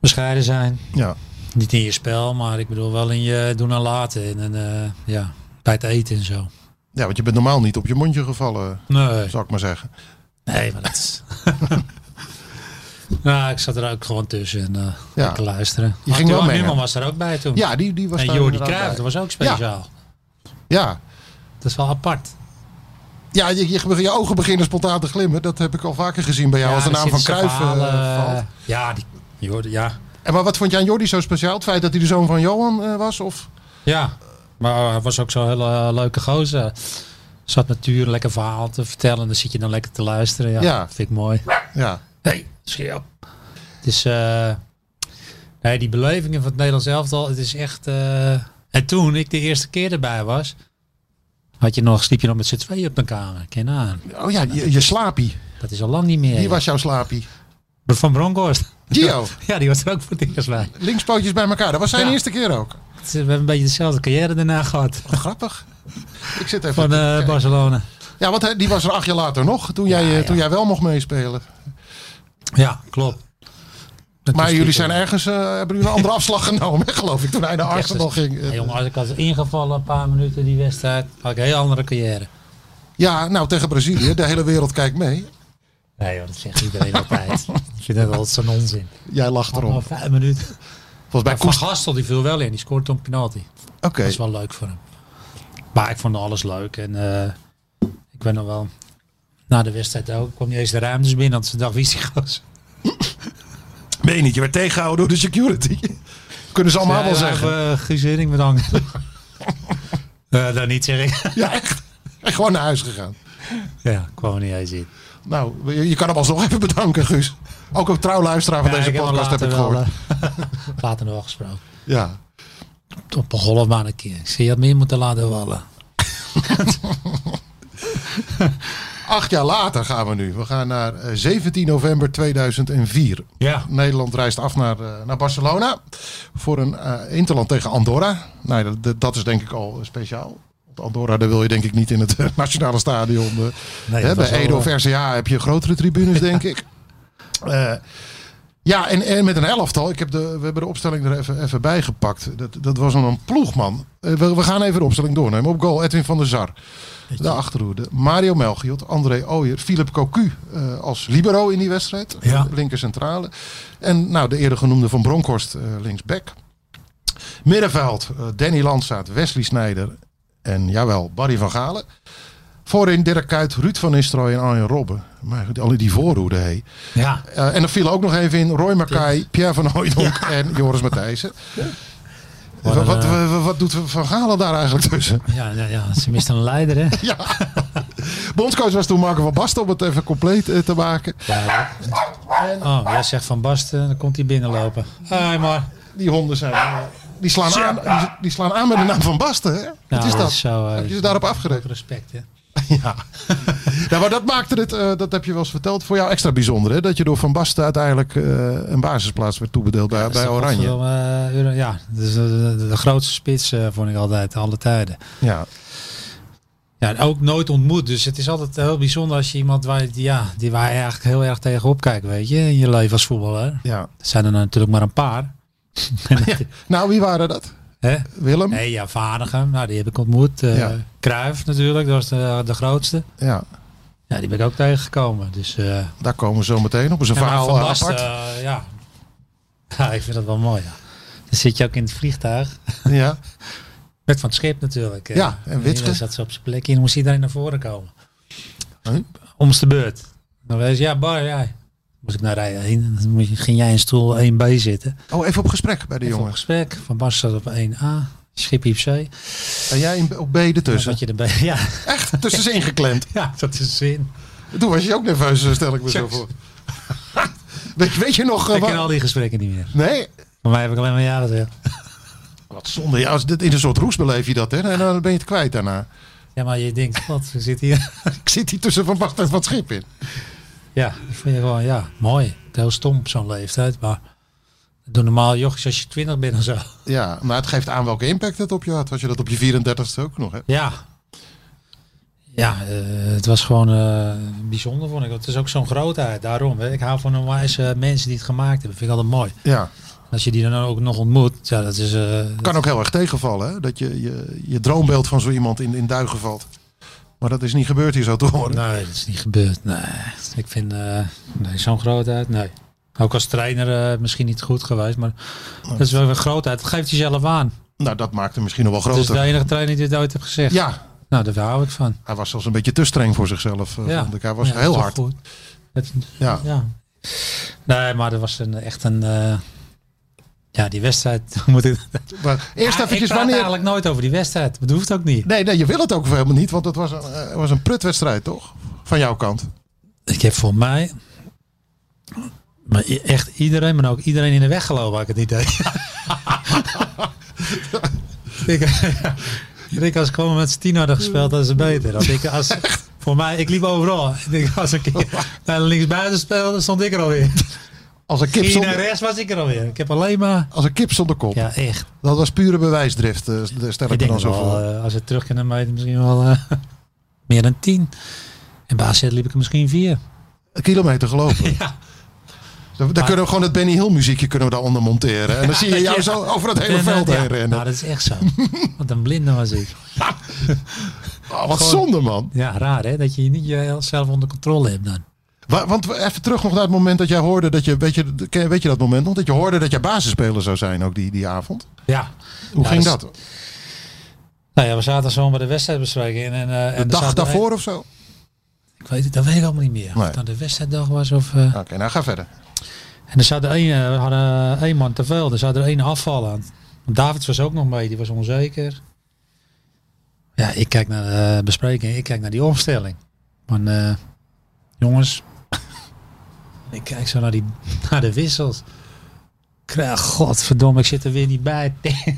[SPEAKER 4] bescheiden zijn.
[SPEAKER 3] ja.
[SPEAKER 4] Niet in je spel, maar ik bedoel wel in je doen en laten. En, dan, eh, ja, bij het eten en zo.
[SPEAKER 3] Ja, want je bent normaal niet op je mondje gevallen,
[SPEAKER 4] Nee,
[SPEAKER 3] zou ik maar zeggen.
[SPEAKER 4] nee maar dat is... nou, ik zat er ook gewoon tussen en eh
[SPEAKER 3] Ja.
[SPEAKER 4] lekker luisteren.
[SPEAKER 3] ging wel
[SPEAKER 4] Johan
[SPEAKER 3] mee, hè?
[SPEAKER 4] Newman was er ook bij toen.
[SPEAKER 3] Ja, die, die was
[SPEAKER 4] en
[SPEAKER 3] daar
[SPEAKER 4] Jordi
[SPEAKER 3] inderdaad
[SPEAKER 4] Cruijff, dat
[SPEAKER 3] bij.
[SPEAKER 4] was ook speciaal.
[SPEAKER 3] Ja,
[SPEAKER 4] Dat is wel apart.
[SPEAKER 3] ja je, je, je ogen beginnen spontaan te glimmen. Dat heb ik al vaker gezien bij jou als de
[SPEAKER 4] er
[SPEAKER 3] naam van
[SPEAKER 4] zitten
[SPEAKER 3] Cruijff eh,
[SPEAKER 4] verhalen,
[SPEAKER 3] valt.
[SPEAKER 4] Ja, die, Jordi, ja.
[SPEAKER 3] En maar wat vond je aan Jordi zo speciaal? Het feit dat hij de zoon van Johan eh, was? Of?
[SPEAKER 4] Ja, maar hij was ook zo'n hele eh, leuke gozer. Zat natuur lekker verhaal te vertellen. Dan zit je dan lekker te luisteren. Ja,
[SPEAKER 3] Ja.
[SPEAKER 4] vind ik mooi.
[SPEAKER 3] Ja.
[SPEAKER 4] hey, scherp. Het is, eh, nee, die belevingen van het Nederlands elftal, het is echt... eh, En toen ik de eerste keer erbij was, had je nog, sliep je nog met z'n tweeën op een kamer. Ken je aan.
[SPEAKER 3] Oh ja, je, je slaapie.
[SPEAKER 4] Dat is al lang niet meer.
[SPEAKER 3] Die
[SPEAKER 4] joh.
[SPEAKER 3] was jouw slaapie.
[SPEAKER 4] Van Bronkhorst.
[SPEAKER 3] Gio,
[SPEAKER 4] Ja, die was er ook voor het eerst bij.
[SPEAKER 3] linkspootjes bij elkaar. Dat was zijn
[SPEAKER 4] Ja.
[SPEAKER 3] eerste keer ook.
[SPEAKER 4] Het is- We hebben een beetje dezelfde carrière daarna gehad.
[SPEAKER 3] Wat grappig. Ik zit even...
[SPEAKER 4] Van
[SPEAKER 3] te
[SPEAKER 4] eh,
[SPEAKER 3] kijken.
[SPEAKER 4] Barcelona.
[SPEAKER 3] ja, want hij- die was er acht jaar later nog, toen jij, eh,
[SPEAKER 4] ja.
[SPEAKER 3] Toen jij wel mocht meespelen.
[SPEAKER 4] Ja, klopt.
[SPEAKER 3] Maar jullie zijn ergens, eh, hebben jullie een andere afslag genomen, hè, geloof ik, toen hij naar Arsenal ging. Eh,
[SPEAKER 4] Hey, jongen, als ik had ingevallen een paar minuten die wedstrijd, had ik een heel andere carrière.
[SPEAKER 3] Ja, nou tegen Brazilië, de hele wereld kijkt mee.
[SPEAKER 4] Nee joh, dat zegt iedereen altijd. ik vind dat altijd zo'n onzin.
[SPEAKER 3] Jij lacht erom.
[SPEAKER 4] Maar vijf minuten.
[SPEAKER 3] Volgens mij
[SPEAKER 4] Maar Van
[SPEAKER 3] Koest.
[SPEAKER 4] Gastel die viel wel in, die scoort een penalty.
[SPEAKER 3] Oké,
[SPEAKER 4] Dat is wel leuk voor hem. Maar ik vond alles leuk en eh, ik ben nog wel... Na de wedstrijd ook, kwam niet eens de ruimtes binnen, want ze dacht wie is die gozer?
[SPEAKER 3] meen je niet, je werd tegengehouden door de security. Kunnen ze allemaal wel
[SPEAKER 4] Ja,
[SPEAKER 3] zeggen.
[SPEAKER 4] we hebben, eh, Guus Hiddink bedankt. Eh dat niet zeg ik.
[SPEAKER 3] Ja, echt. En gewoon naar huis gegaan.
[SPEAKER 4] ja, kwam er niet eens in.
[SPEAKER 3] Nou, je, je kan hem alsnog even bedanken, Guus. Ook een trouw luisteraar van
[SPEAKER 4] Ja,
[SPEAKER 3] deze
[SPEAKER 4] ik hem
[SPEAKER 3] podcast heb ik
[SPEAKER 4] later
[SPEAKER 3] gehoord.
[SPEAKER 4] wel, eh, later nog wel gesproken.
[SPEAKER 3] Ja.
[SPEAKER 4] Op een golfbaan een keer. Ik zei, je had meer moeten laten vallen.
[SPEAKER 3] Acht jaar later gaan we nu. We gaan naar eh, 17 november 2004.
[SPEAKER 4] Ja.
[SPEAKER 3] Nederland reist af naar, eh, naar Barcelona voor een eh, interland tegen Andorra. Nou, dat, dat- dat is denk ik al eh, speciaal. Want Andorra, daar wil je denk ik niet in het eh, nationale stadion. eh,
[SPEAKER 4] Nee,
[SPEAKER 3] Hè,
[SPEAKER 4] dat was
[SPEAKER 3] bij
[SPEAKER 4] wel,
[SPEAKER 3] Edo of
[SPEAKER 4] eh,
[SPEAKER 3] RCA heb je grotere tribunes, denk ik. Eh, ja, en, en met een elftal. Ik heb de, we hebben de opstelling er even, even bij gepakt. Dat, dat was een ploegman. Eh, we, we gaan even de opstelling doornemen. Op goal Edwin van der Zar. De achterhoede. Mario Melchiot, André Ooyer, Philip Cocu eh, als libero in die wedstrijd.
[SPEAKER 4] Ja.
[SPEAKER 3] Linker centrale. En nou, de eerder genoemde Van Bronkhorst eh, linksback. Middenveld, eh, Danny Landsaat, Wesley Snijder en jawel, Barry van Galen. Voorin Dirk Kuyt, Ruud van Nistelrooy en Arjen Robben. Maar goed, alle die voorhoede, hé.
[SPEAKER 4] Ja,
[SPEAKER 3] Eh, en er viel ook nog even in Roy Mackay, Pierre van Hooijdonk en Joris Matthijssen. Wat,
[SPEAKER 4] Wat een, eh,
[SPEAKER 3] wat, wat- wat doet Van Galen daar eigenlijk tussen?
[SPEAKER 4] ja, ja, ja, ze mist een leider, hè?
[SPEAKER 3] Ja. Bondscoach was toen Marco van Basten om het even compleet eh, te maken.
[SPEAKER 4] Oh, jij zegt Van Basten, dan komt hij binnenlopen. Hi, maar.
[SPEAKER 3] Die honden zijn... eh, die slaan, aan, die, die slaan aan met de naam van Basten. Hè? Wat
[SPEAKER 4] Nou,
[SPEAKER 3] is
[SPEAKER 4] dat
[SPEAKER 3] dat?
[SPEAKER 4] is zo, eh,
[SPEAKER 3] Heb je ze daarop afgerekt?
[SPEAKER 4] Respect, hè?
[SPEAKER 3] Ja. ja, maar dat maakte het, eh, dat heb je wel eens verteld, voor jou extra bijzonder. Hè? Dat je door Van Basten uiteindelijk eh, een basisplaats werd toebedeeld bij, bij Oranje.
[SPEAKER 4] Wel, eh, Euro- ja, dus, eh, de, de grootste spits eh, vond ik altijd, alle tijden.
[SPEAKER 3] Ja.
[SPEAKER 4] Ja, en ook nooit ontmoet. Dus het is altijd heel bijzonder als je iemand waar, je- die, ja, die waar je eigenlijk heel erg tegenop kijkt, weet je, in je leven als voetballer.
[SPEAKER 3] ja.
[SPEAKER 4] Er zijn er natuurlijk maar een paar.
[SPEAKER 3] Nou, wie waren dat?
[SPEAKER 4] Hè?
[SPEAKER 3] Willem?
[SPEAKER 4] Nee, ja, Vaardigen, nou, die heb ik ontmoet. Eh
[SPEAKER 3] Ja.
[SPEAKER 4] Cruijff natuurlijk, dat was de, de grootste.
[SPEAKER 3] Ja,
[SPEAKER 4] Ja, die ben ik ook tegengekomen. Dus, eh, ja,
[SPEAKER 3] daar komen we zo meteen op. Is een
[SPEAKER 4] maar
[SPEAKER 3] verhaal
[SPEAKER 4] Van
[SPEAKER 3] eh,
[SPEAKER 4] Basten,
[SPEAKER 3] apart.
[SPEAKER 4] eh, ja. ja, ik vind dat wel mooi. Ja. Dan zit je ook in het vliegtuig.
[SPEAKER 3] Ja.
[SPEAKER 4] Met van het schip natuurlijk. eh.
[SPEAKER 3] Ja, en Witske.
[SPEAKER 4] Iedereen zat ze op zijn plekje en dan moest iedereen naar voren komen.
[SPEAKER 3] Huh?
[SPEAKER 4] Om de beurt. Dan wees ja, bar, ja. Moest ik naar rij heen. Dan moest je- ging jij in stoel 1B zitten.
[SPEAKER 3] Oh, even op gesprek bij de
[SPEAKER 4] Voor een
[SPEAKER 3] jongens.
[SPEAKER 4] gesprek. Van Bas zat op 1A. Schip op C. Dan
[SPEAKER 3] En jij in, op B ertussen.
[SPEAKER 4] zat je erbij. Ja,
[SPEAKER 3] Echt tussenin geklemd.
[SPEAKER 4] ja, dat is zin.
[SPEAKER 3] Toen was je ook nerveus, eh, stel ik me zo
[SPEAKER 4] Tjaks.
[SPEAKER 3] voor. weet, weet je nog... eh,
[SPEAKER 4] Ik
[SPEAKER 3] wat-
[SPEAKER 4] ken al die gesprekken niet meer.
[SPEAKER 3] Nee?
[SPEAKER 4] Voor mij heb ik alleen maar ja gezegd.
[SPEAKER 3] Wat zonde. Ja, als dit, in een soort roes beleef je dat. Hè? En dan ben je het kwijt daarna.
[SPEAKER 4] Ja, maar je denkt, wat, we zitten hier.
[SPEAKER 3] Ik zit hier tussen Van Basten en Van Schip in.
[SPEAKER 4] Ja, dat vind je gewoon, ja, mooi. Heel stom op zo'n leeftijd. Maar doe normaal jochies als je 20 bent of zo.
[SPEAKER 3] Ja, maar het geeft aan welke impact dat op je had. Had je dat op je 34ste ook nog, hè?
[SPEAKER 4] Ja. Ja, eh, het was gewoon eh, bijzonder, vond ik. Het is ook zo'n grootheid, daarom. Hè. Ik hou van een wijze eh, mensen die het gemaakt hebben. Vind ik altijd mooi.
[SPEAKER 3] Ja.
[SPEAKER 4] Als je die dan ook nog ontmoet, ja, dat is... eh,
[SPEAKER 3] Kan ook heel erg tegenvallen, hè? Dat je, je je droombeeld van zo iemand in, in duigen valt. Maar dat is niet gebeurd hier zo te horen.
[SPEAKER 4] Nee, dat is niet gebeurd. Nee, ik vind... eh, nee, zo'n grootheid, nee. Ook als trainer eh, misschien niet goed geweest, maar dat is wel weer grootheid. Dat geeft jezelf aan.
[SPEAKER 3] Nou, dat maakt hem misschien nog wel
[SPEAKER 4] Het is de
[SPEAKER 3] groter.
[SPEAKER 4] enige trainer die dit ooit heeft gezegd.
[SPEAKER 3] Ja,
[SPEAKER 4] Nou, daar hou ik van.
[SPEAKER 3] hij was zelfs een beetje te streng voor zichzelf. eh,
[SPEAKER 4] Ja.
[SPEAKER 3] vond ik. Hij was
[SPEAKER 4] Ja,
[SPEAKER 3] heel
[SPEAKER 4] toch
[SPEAKER 3] hard.
[SPEAKER 4] goed. Het,
[SPEAKER 3] Ja.
[SPEAKER 4] Ja. Nee, maar dat was een, echt een. eh, ja, die wedstrijd. Moet ik,
[SPEAKER 3] Maar eerst
[SPEAKER 4] Ah, ik
[SPEAKER 3] eventjes
[SPEAKER 4] praat
[SPEAKER 3] wanneer...
[SPEAKER 4] eigenlijk nooit over die wedstrijd. Dat hoeft ook niet.
[SPEAKER 3] Nee, nee, je wil het ook helemaal niet, want het was een, eh, was een prutwedstrijd, toch? Van jouw kant.
[SPEAKER 4] Ik heb voor mij. Maar i- echt iedereen, maar ook iedereen in de weg gelopen, had ik het niet deed. ik, ik denk, als ik gewoon met z'n tien hadden gespeeld, dat is het beter. Want ik, als, voor mij, ik liep overal. Ik denk, als ik naar linksbuiten speelde, stond ik er alweer.
[SPEAKER 3] Als een kip
[SPEAKER 4] Ging je naar
[SPEAKER 3] zonder,
[SPEAKER 4] rechts, was ik er alweer. Ik heb alleen maar...
[SPEAKER 3] als een kip zonder kop.
[SPEAKER 4] Ja, echt.
[SPEAKER 3] Dat was pure bewijsdrift, eh, stel
[SPEAKER 4] Ik
[SPEAKER 3] ik me
[SPEAKER 4] denk
[SPEAKER 3] dan zo
[SPEAKER 4] wel,
[SPEAKER 3] voor.
[SPEAKER 4] eh, als we terug kunnen meten, misschien wel eh, meer dan tien. En bij AZ liep ik er misschien vier. eh.
[SPEAKER 3] Een kilometer gelopen.
[SPEAKER 4] Ja.
[SPEAKER 3] Dan, dan kunnen we gewoon het Benny Hill muziekje kunnen we daaronder monteren. En dan zie je jou
[SPEAKER 4] ja.
[SPEAKER 3] zo over het hele
[SPEAKER 4] En, eh,
[SPEAKER 3] veld
[SPEAKER 4] ja,
[SPEAKER 3] heen rennen.
[SPEAKER 4] Nou, dat is echt zo. Wat een blinde was ik.
[SPEAKER 3] Oh, wat
[SPEAKER 4] gewoon-
[SPEAKER 3] zonde man.
[SPEAKER 4] Ja, raar hè, dat je niet jezelf onder controle hebt dan.
[SPEAKER 3] Wa- Want we- even terug nog naar het moment dat jij hoorde dat je, weet je, ken- weet je dat moment nog? Dat je hoorde dat je basisspeler zou zijn ook die, die avond.
[SPEAKER 4] Ja.
[SPEAKER 3] Hoe
[SPEAKER 4] Ja,
[SPEAKER 3] ging
[SPEAKER 4] dat
[SPEAKER 3] dat?
[SPEAKER 4] is- Nou ja, we zaten zo bij de wedstrijdbespreking. En, eh, en
[SPEAKER 3] De
[SPEAKER 4] er
[SPEAKER 3] dag
[SPEAKER 4] zaten-
[SPEAKER 3] daarvoor of zo? Oké,
[SPEAKER 4] Ik weet het, dat weet ik allemaal niet meer. Of
[SPEAKER 3] Nee.
[SPEAKER 4] het nou de wedstrijddag was of... eh,
[SPEAKER 3] nou ga verder.
[SPEAKER 4] En er zat er één, eh, we hadden één man te veel. Er zat er één afvallen aan. Want Davids was ook nog mee, die was onzeker. Ja, ik kijk naar de bespreking, ik kijk naar die opstelling. Van eh, jongens, ik kijk zo naar, die, naar de wissels. Krijg, godverdomme, ik zit er weer niet bij.
[SPEAKER 3] Je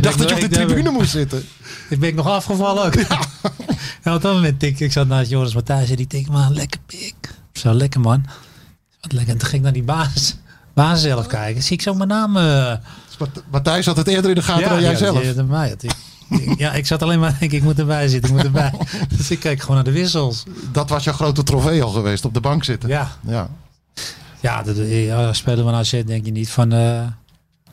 [SPEAKER 3] dacht
[SPEAKER 4] ben-
[SPEAKER 3] dat je
[SPEAKER 4] ik
[SPEAKER 3] op de
[SPEAKER 4] ben-
[SPEAKER 3] tribune moest zitten.
[SPEAKER 4] ik ben ik nog afgevallen ook. Ja. En op dat moment tik ik zat naast Joris Matthijs en die tik man, lekker pik. Zo lekker man. Wat lekker. En toen ging ik naar die baas, baas zelf kijken. Zie ik zo mijn naam. eh,
[SPEAKER 3] Dus Mat- Matthijs had het eerder in de gaten dan jij
[SPEAKER 4] die
[SPEAKER 3] zelf.
[SPEAKER 4] deed het aan mij. Dat ik- ja, ik zat alleen maar denk ik moet erbij zitten, ik moet erbij. dus ik kijk gewoon naar de wissels.
[SPEAKER 3] Dat was jouw grote trofee al geweest, op de bank zitten.
[SPEAKER 4] Ja,
[SPEAKER 3] Ja.
[SPEAKER 4] ja, dat, ja spelen van AZ denk je niet van... eh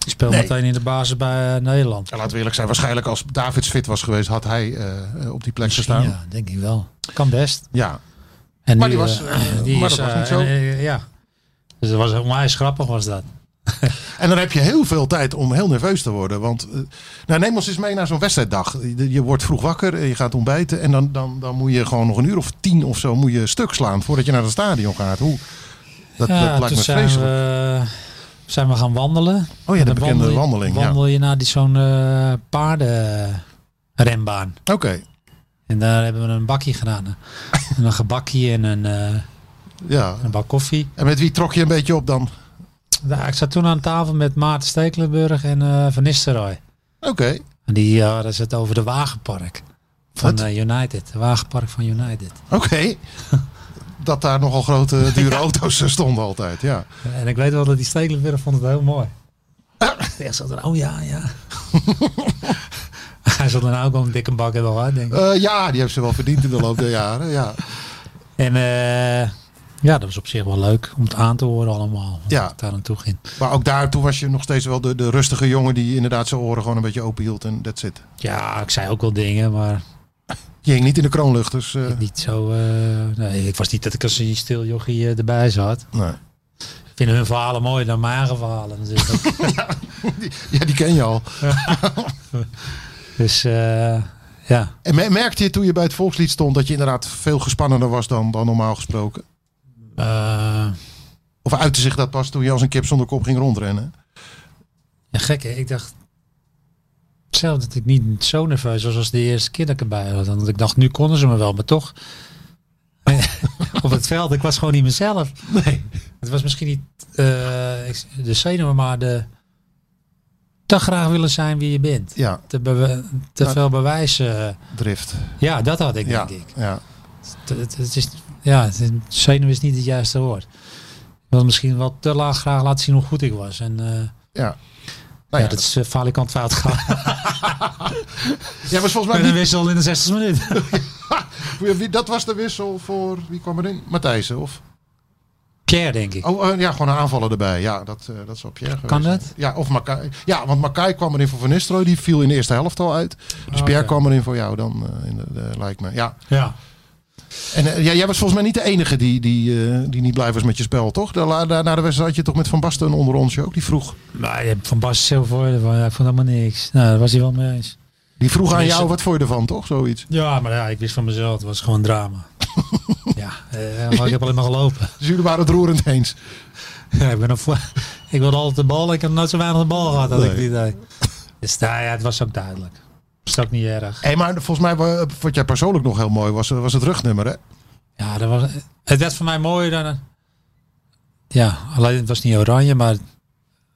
[SPEAKER 4] ik speel
[SPEAKER 3] Nee.
[SPEAKER 4] meteen in de basis bij eh, Nederland.
[SPEAKER 3] En laten we eerlijk zijn, waarschijnlijk als Davids fit was geweest, had hij eh, eh, op die plek gestaan. Ja.
[SPEAKER 4] Ja, denk ik wel. Kan best. En
[SPEAKER 3] Maar
[SPEAKER 4] nu,
[SPEAKER 3] die was,
[SPEAKER 4] eh,
[SPEAKER 3] eh,
[SPEAKER 4] die
[SPEAKER 3] maar
[SPEAKER 4] is,
[SPEAKER 3] dat was
[SPEAKER 4] eh,
[SPEAKER 3] niet zo.
[SPEAKER 4] en, eh, ja. Dus dat was onwijs grappig was dat.
[SPEAKER 3] En dan heb je heel veel tijd om heel nerveus te worden. Want eh, nou, neem ons eens mee naar zo'n wedstrijddag. Je, je wordt vroeg wakker, eh, je gaat ontbijten. En dan, dan, dan moet je gewoon nog een uur of tien of zo moet je stuk slaan voordat je naar het stadion gaat. Hoe, dat,
[SPEAKER 4] ja,
[SPEAKER 3] dat lijkt
[SPEAKER 4] toen
[SPEAKER 3] me
[SPEAKER 4] zijn
[SPEAKER 3] vreselijk.
[SPEAKER 4] we, eh, zijn we gaan wandelen.
[SPEAKER 3] Oh ja,
[SPEAKER 4] En dan
[SPEAKER 3] de bekende
[SPEAKER 4] wandel je-
[SPEAKER 3] wandeling. Ja.
[SPEAKER 4] Wandel je naar die zo'n eh, paardenrenbaan.
[SPEAKER 3] Oké,
[SPEAKER 4] En daar hebben we een bakkie gedaan. en een gebakkie en een, eh,
[SPEAKER 3] ja.
[SPEAKER 4] een bak koffie.
[SPEAKER 3] En met wie trok je een beetje op dan?
[SPEAKER 4] Nou, ik zat toen aan tafel met Maarten Stekelenburg en eh, Van Nistelrooy.
[SPEAKER 3] Oké,
[SPEAKER 4] En die eh, hadden ze het over de Wagenpark. Van
[SPEAKER 3] Wat?
[SPEAKER 4] eh, United. De Wagenpark van United.
[SPEAKER 3] oké. Dat daar nogal grote, dure auto's stonden altijd, ja.
[SPEAKER 4] Eh, En ik weet wel dat die Stekelenburg vond het heel mooi. Hij zat er, oh ja, ja. Hij zat er nou ook al een dikke bak in al, denk ik.
[SPEAKER 3] Eh, ja, die heeft ze wel verdiend in de loop der jaren, ja.
[SPEAKER 4] En eh, ja, dat was op zich wel leuk om het aan te horen allemaal.
[SPEAKER 3] Ja.
[SPEAKER 4] Ja. Ik daar aan toe ging.
[SPEAKER 3] Maar ook daartoe was je nog steeds wel de, de rustige jongen die inderdaad zijn oren gewoon een beetje open hield en that's it.
[SPEAKER 4] Ja, ik zei ook wel dingen, maar
[SPEAKER 3] Je hing niet in de kroonluchters. eh
[SPEAKER 4] niet zo... eh, nee, ik was niet dat ik als een stil jochie eh, erbij zat.
[SPEAKER 3] nee.
[SPEAKER 4] Ik vind hun verhalen mooier dan mijn eigen verhalen natuurlijk.
[SPEAKER 3] Ja, die ken je al.
[SPEAKER 4] dus eh, ja,
[SPEAKER 3] En me- merkte je toen je bij het volkslied stond dat je inderdaad veel gespannener was dan, dan normaal gesproken?
[SPEAKER 4] eh,
[SPEAKER 3] Of uitte zich dat pas toen je als een kip zonder kop ging rondrennen?
[SPEAKER 4] ja, gek hè. Ik dacht zelf dat ik niet zo nerveus was als de eerste keer dat ik erbij was. Want ik dacht, nu konden ze me wel, maar toch... Op het veld, ik was gewoon niet mezelf.
[SPEAKER 3] Nee.
[SPEAKER 4] Het was misschien niet eh, ik- de zenuwen, maar de te graag willen zijn wie je bent.
[SPEAKER 3] Ja,
[SPEAKER 4] Te, bewe- te
[SPEAKER 3] Ja.
[SPEAKER 4] veel bewijzen.
[SPEAKER 3] drift.
[SPEAKER 4] Ja, dat had ik,
[SPEAKER 3] Ja,
[SPEAKER 4] denk ik.
[SPEAKER 3] ja.
[SPEAKER 4] Het, het- het is, ja, het- zenuw is niet het juiste woord. Ik wilde misschien wel te laag graag laten zien hoe goed ik was. En eh,
[SPEAKER 3] ja.
[SPEAKER 4] ja,
[SPEAKER 3] Nou Ah ja,
[SPEAKER 4] dat is uh, falikant fout gegaan.
[SPEAKER 3] ja, was volgens
[SPEAKER 4] Met
[SPEAKER 3] mij
[SPEAKER 4] een
[SPEAKER 3] niet-
[SPEAKER 4] wissel in de 60 minuut.
[SPEAKER 3] wie- wie- dat was de wissel voor, wie kwam erin? Matthijsen of?
[SPEAKER 4] Pierre, denk ik.
[SPEAKER 3] Oh, eh, ja, gewoon een aanvaller erbij. Ja, dat, eh dat is op Pierre
[SPEAKER 4] Kan
[SPEAKER 3] geweest.
[SPEAKER 4] dat?
[SPEAKER 3] Ja, of Makai. Ja, want Makai kwam erin voor Van Nistelrooy. Die viel in de eerste helft al uit. Dus Pierre
[SPEAKER 4] Ah, oké.
[SPEAKER 3] kwam erin voor jou dan, eh, in de, de- lijkt me. Ja.
[SPEAKER 4] Ja.
[SPEAKER 3] En eh, ja, jij was volgens mij niet de enige die, die, eh, die niet blij was met je spel, toch? Daar, la- daar- na de wedstrijd had je toch met Van Basten onder ons ook. Die vroeg,
[SPEAKER 4] Maar je hebt van Bas zelf voor. Ja, ik vond helemaal niks. Nou, daar was hij wel mee eens.
[SPEAKER 3] die vroeg aan
[SPEAKER 4] Is
[SPEAKER 3] jou,
[SPEAKER 4] het-
[SPEAKER 3] wat vond je ervan, toch? Zoiets.
[SPEAKER 4] Ja, maar ja, ik wist van mezelf, het was gewoon drama. ja, eh, maar ik heb alleen maar gelopen.
[SPEAKER 3] Dus jullie waren het roerend eens.
[SPEAKER 4] ja, ik, ben een vo- ik wilde altijd de bal, ik heb nooit zo weinig de bal gehad, had ik het
[SPEAKER 3] Nee.
[SPEAKER 4] idee. Dus nou ja, het was ook duidelijk. Het is ook niet erg.
[SPEAKER 3] Hé, maar volgens mij, wa- wat jij persoonlijk nog heel mooi was, eh, was het rugnummer, hè?
[SPEAKER 4] Ja, dat was, het werd voor mij mooier dan... een- Ja, alleen het was niet oranje, maar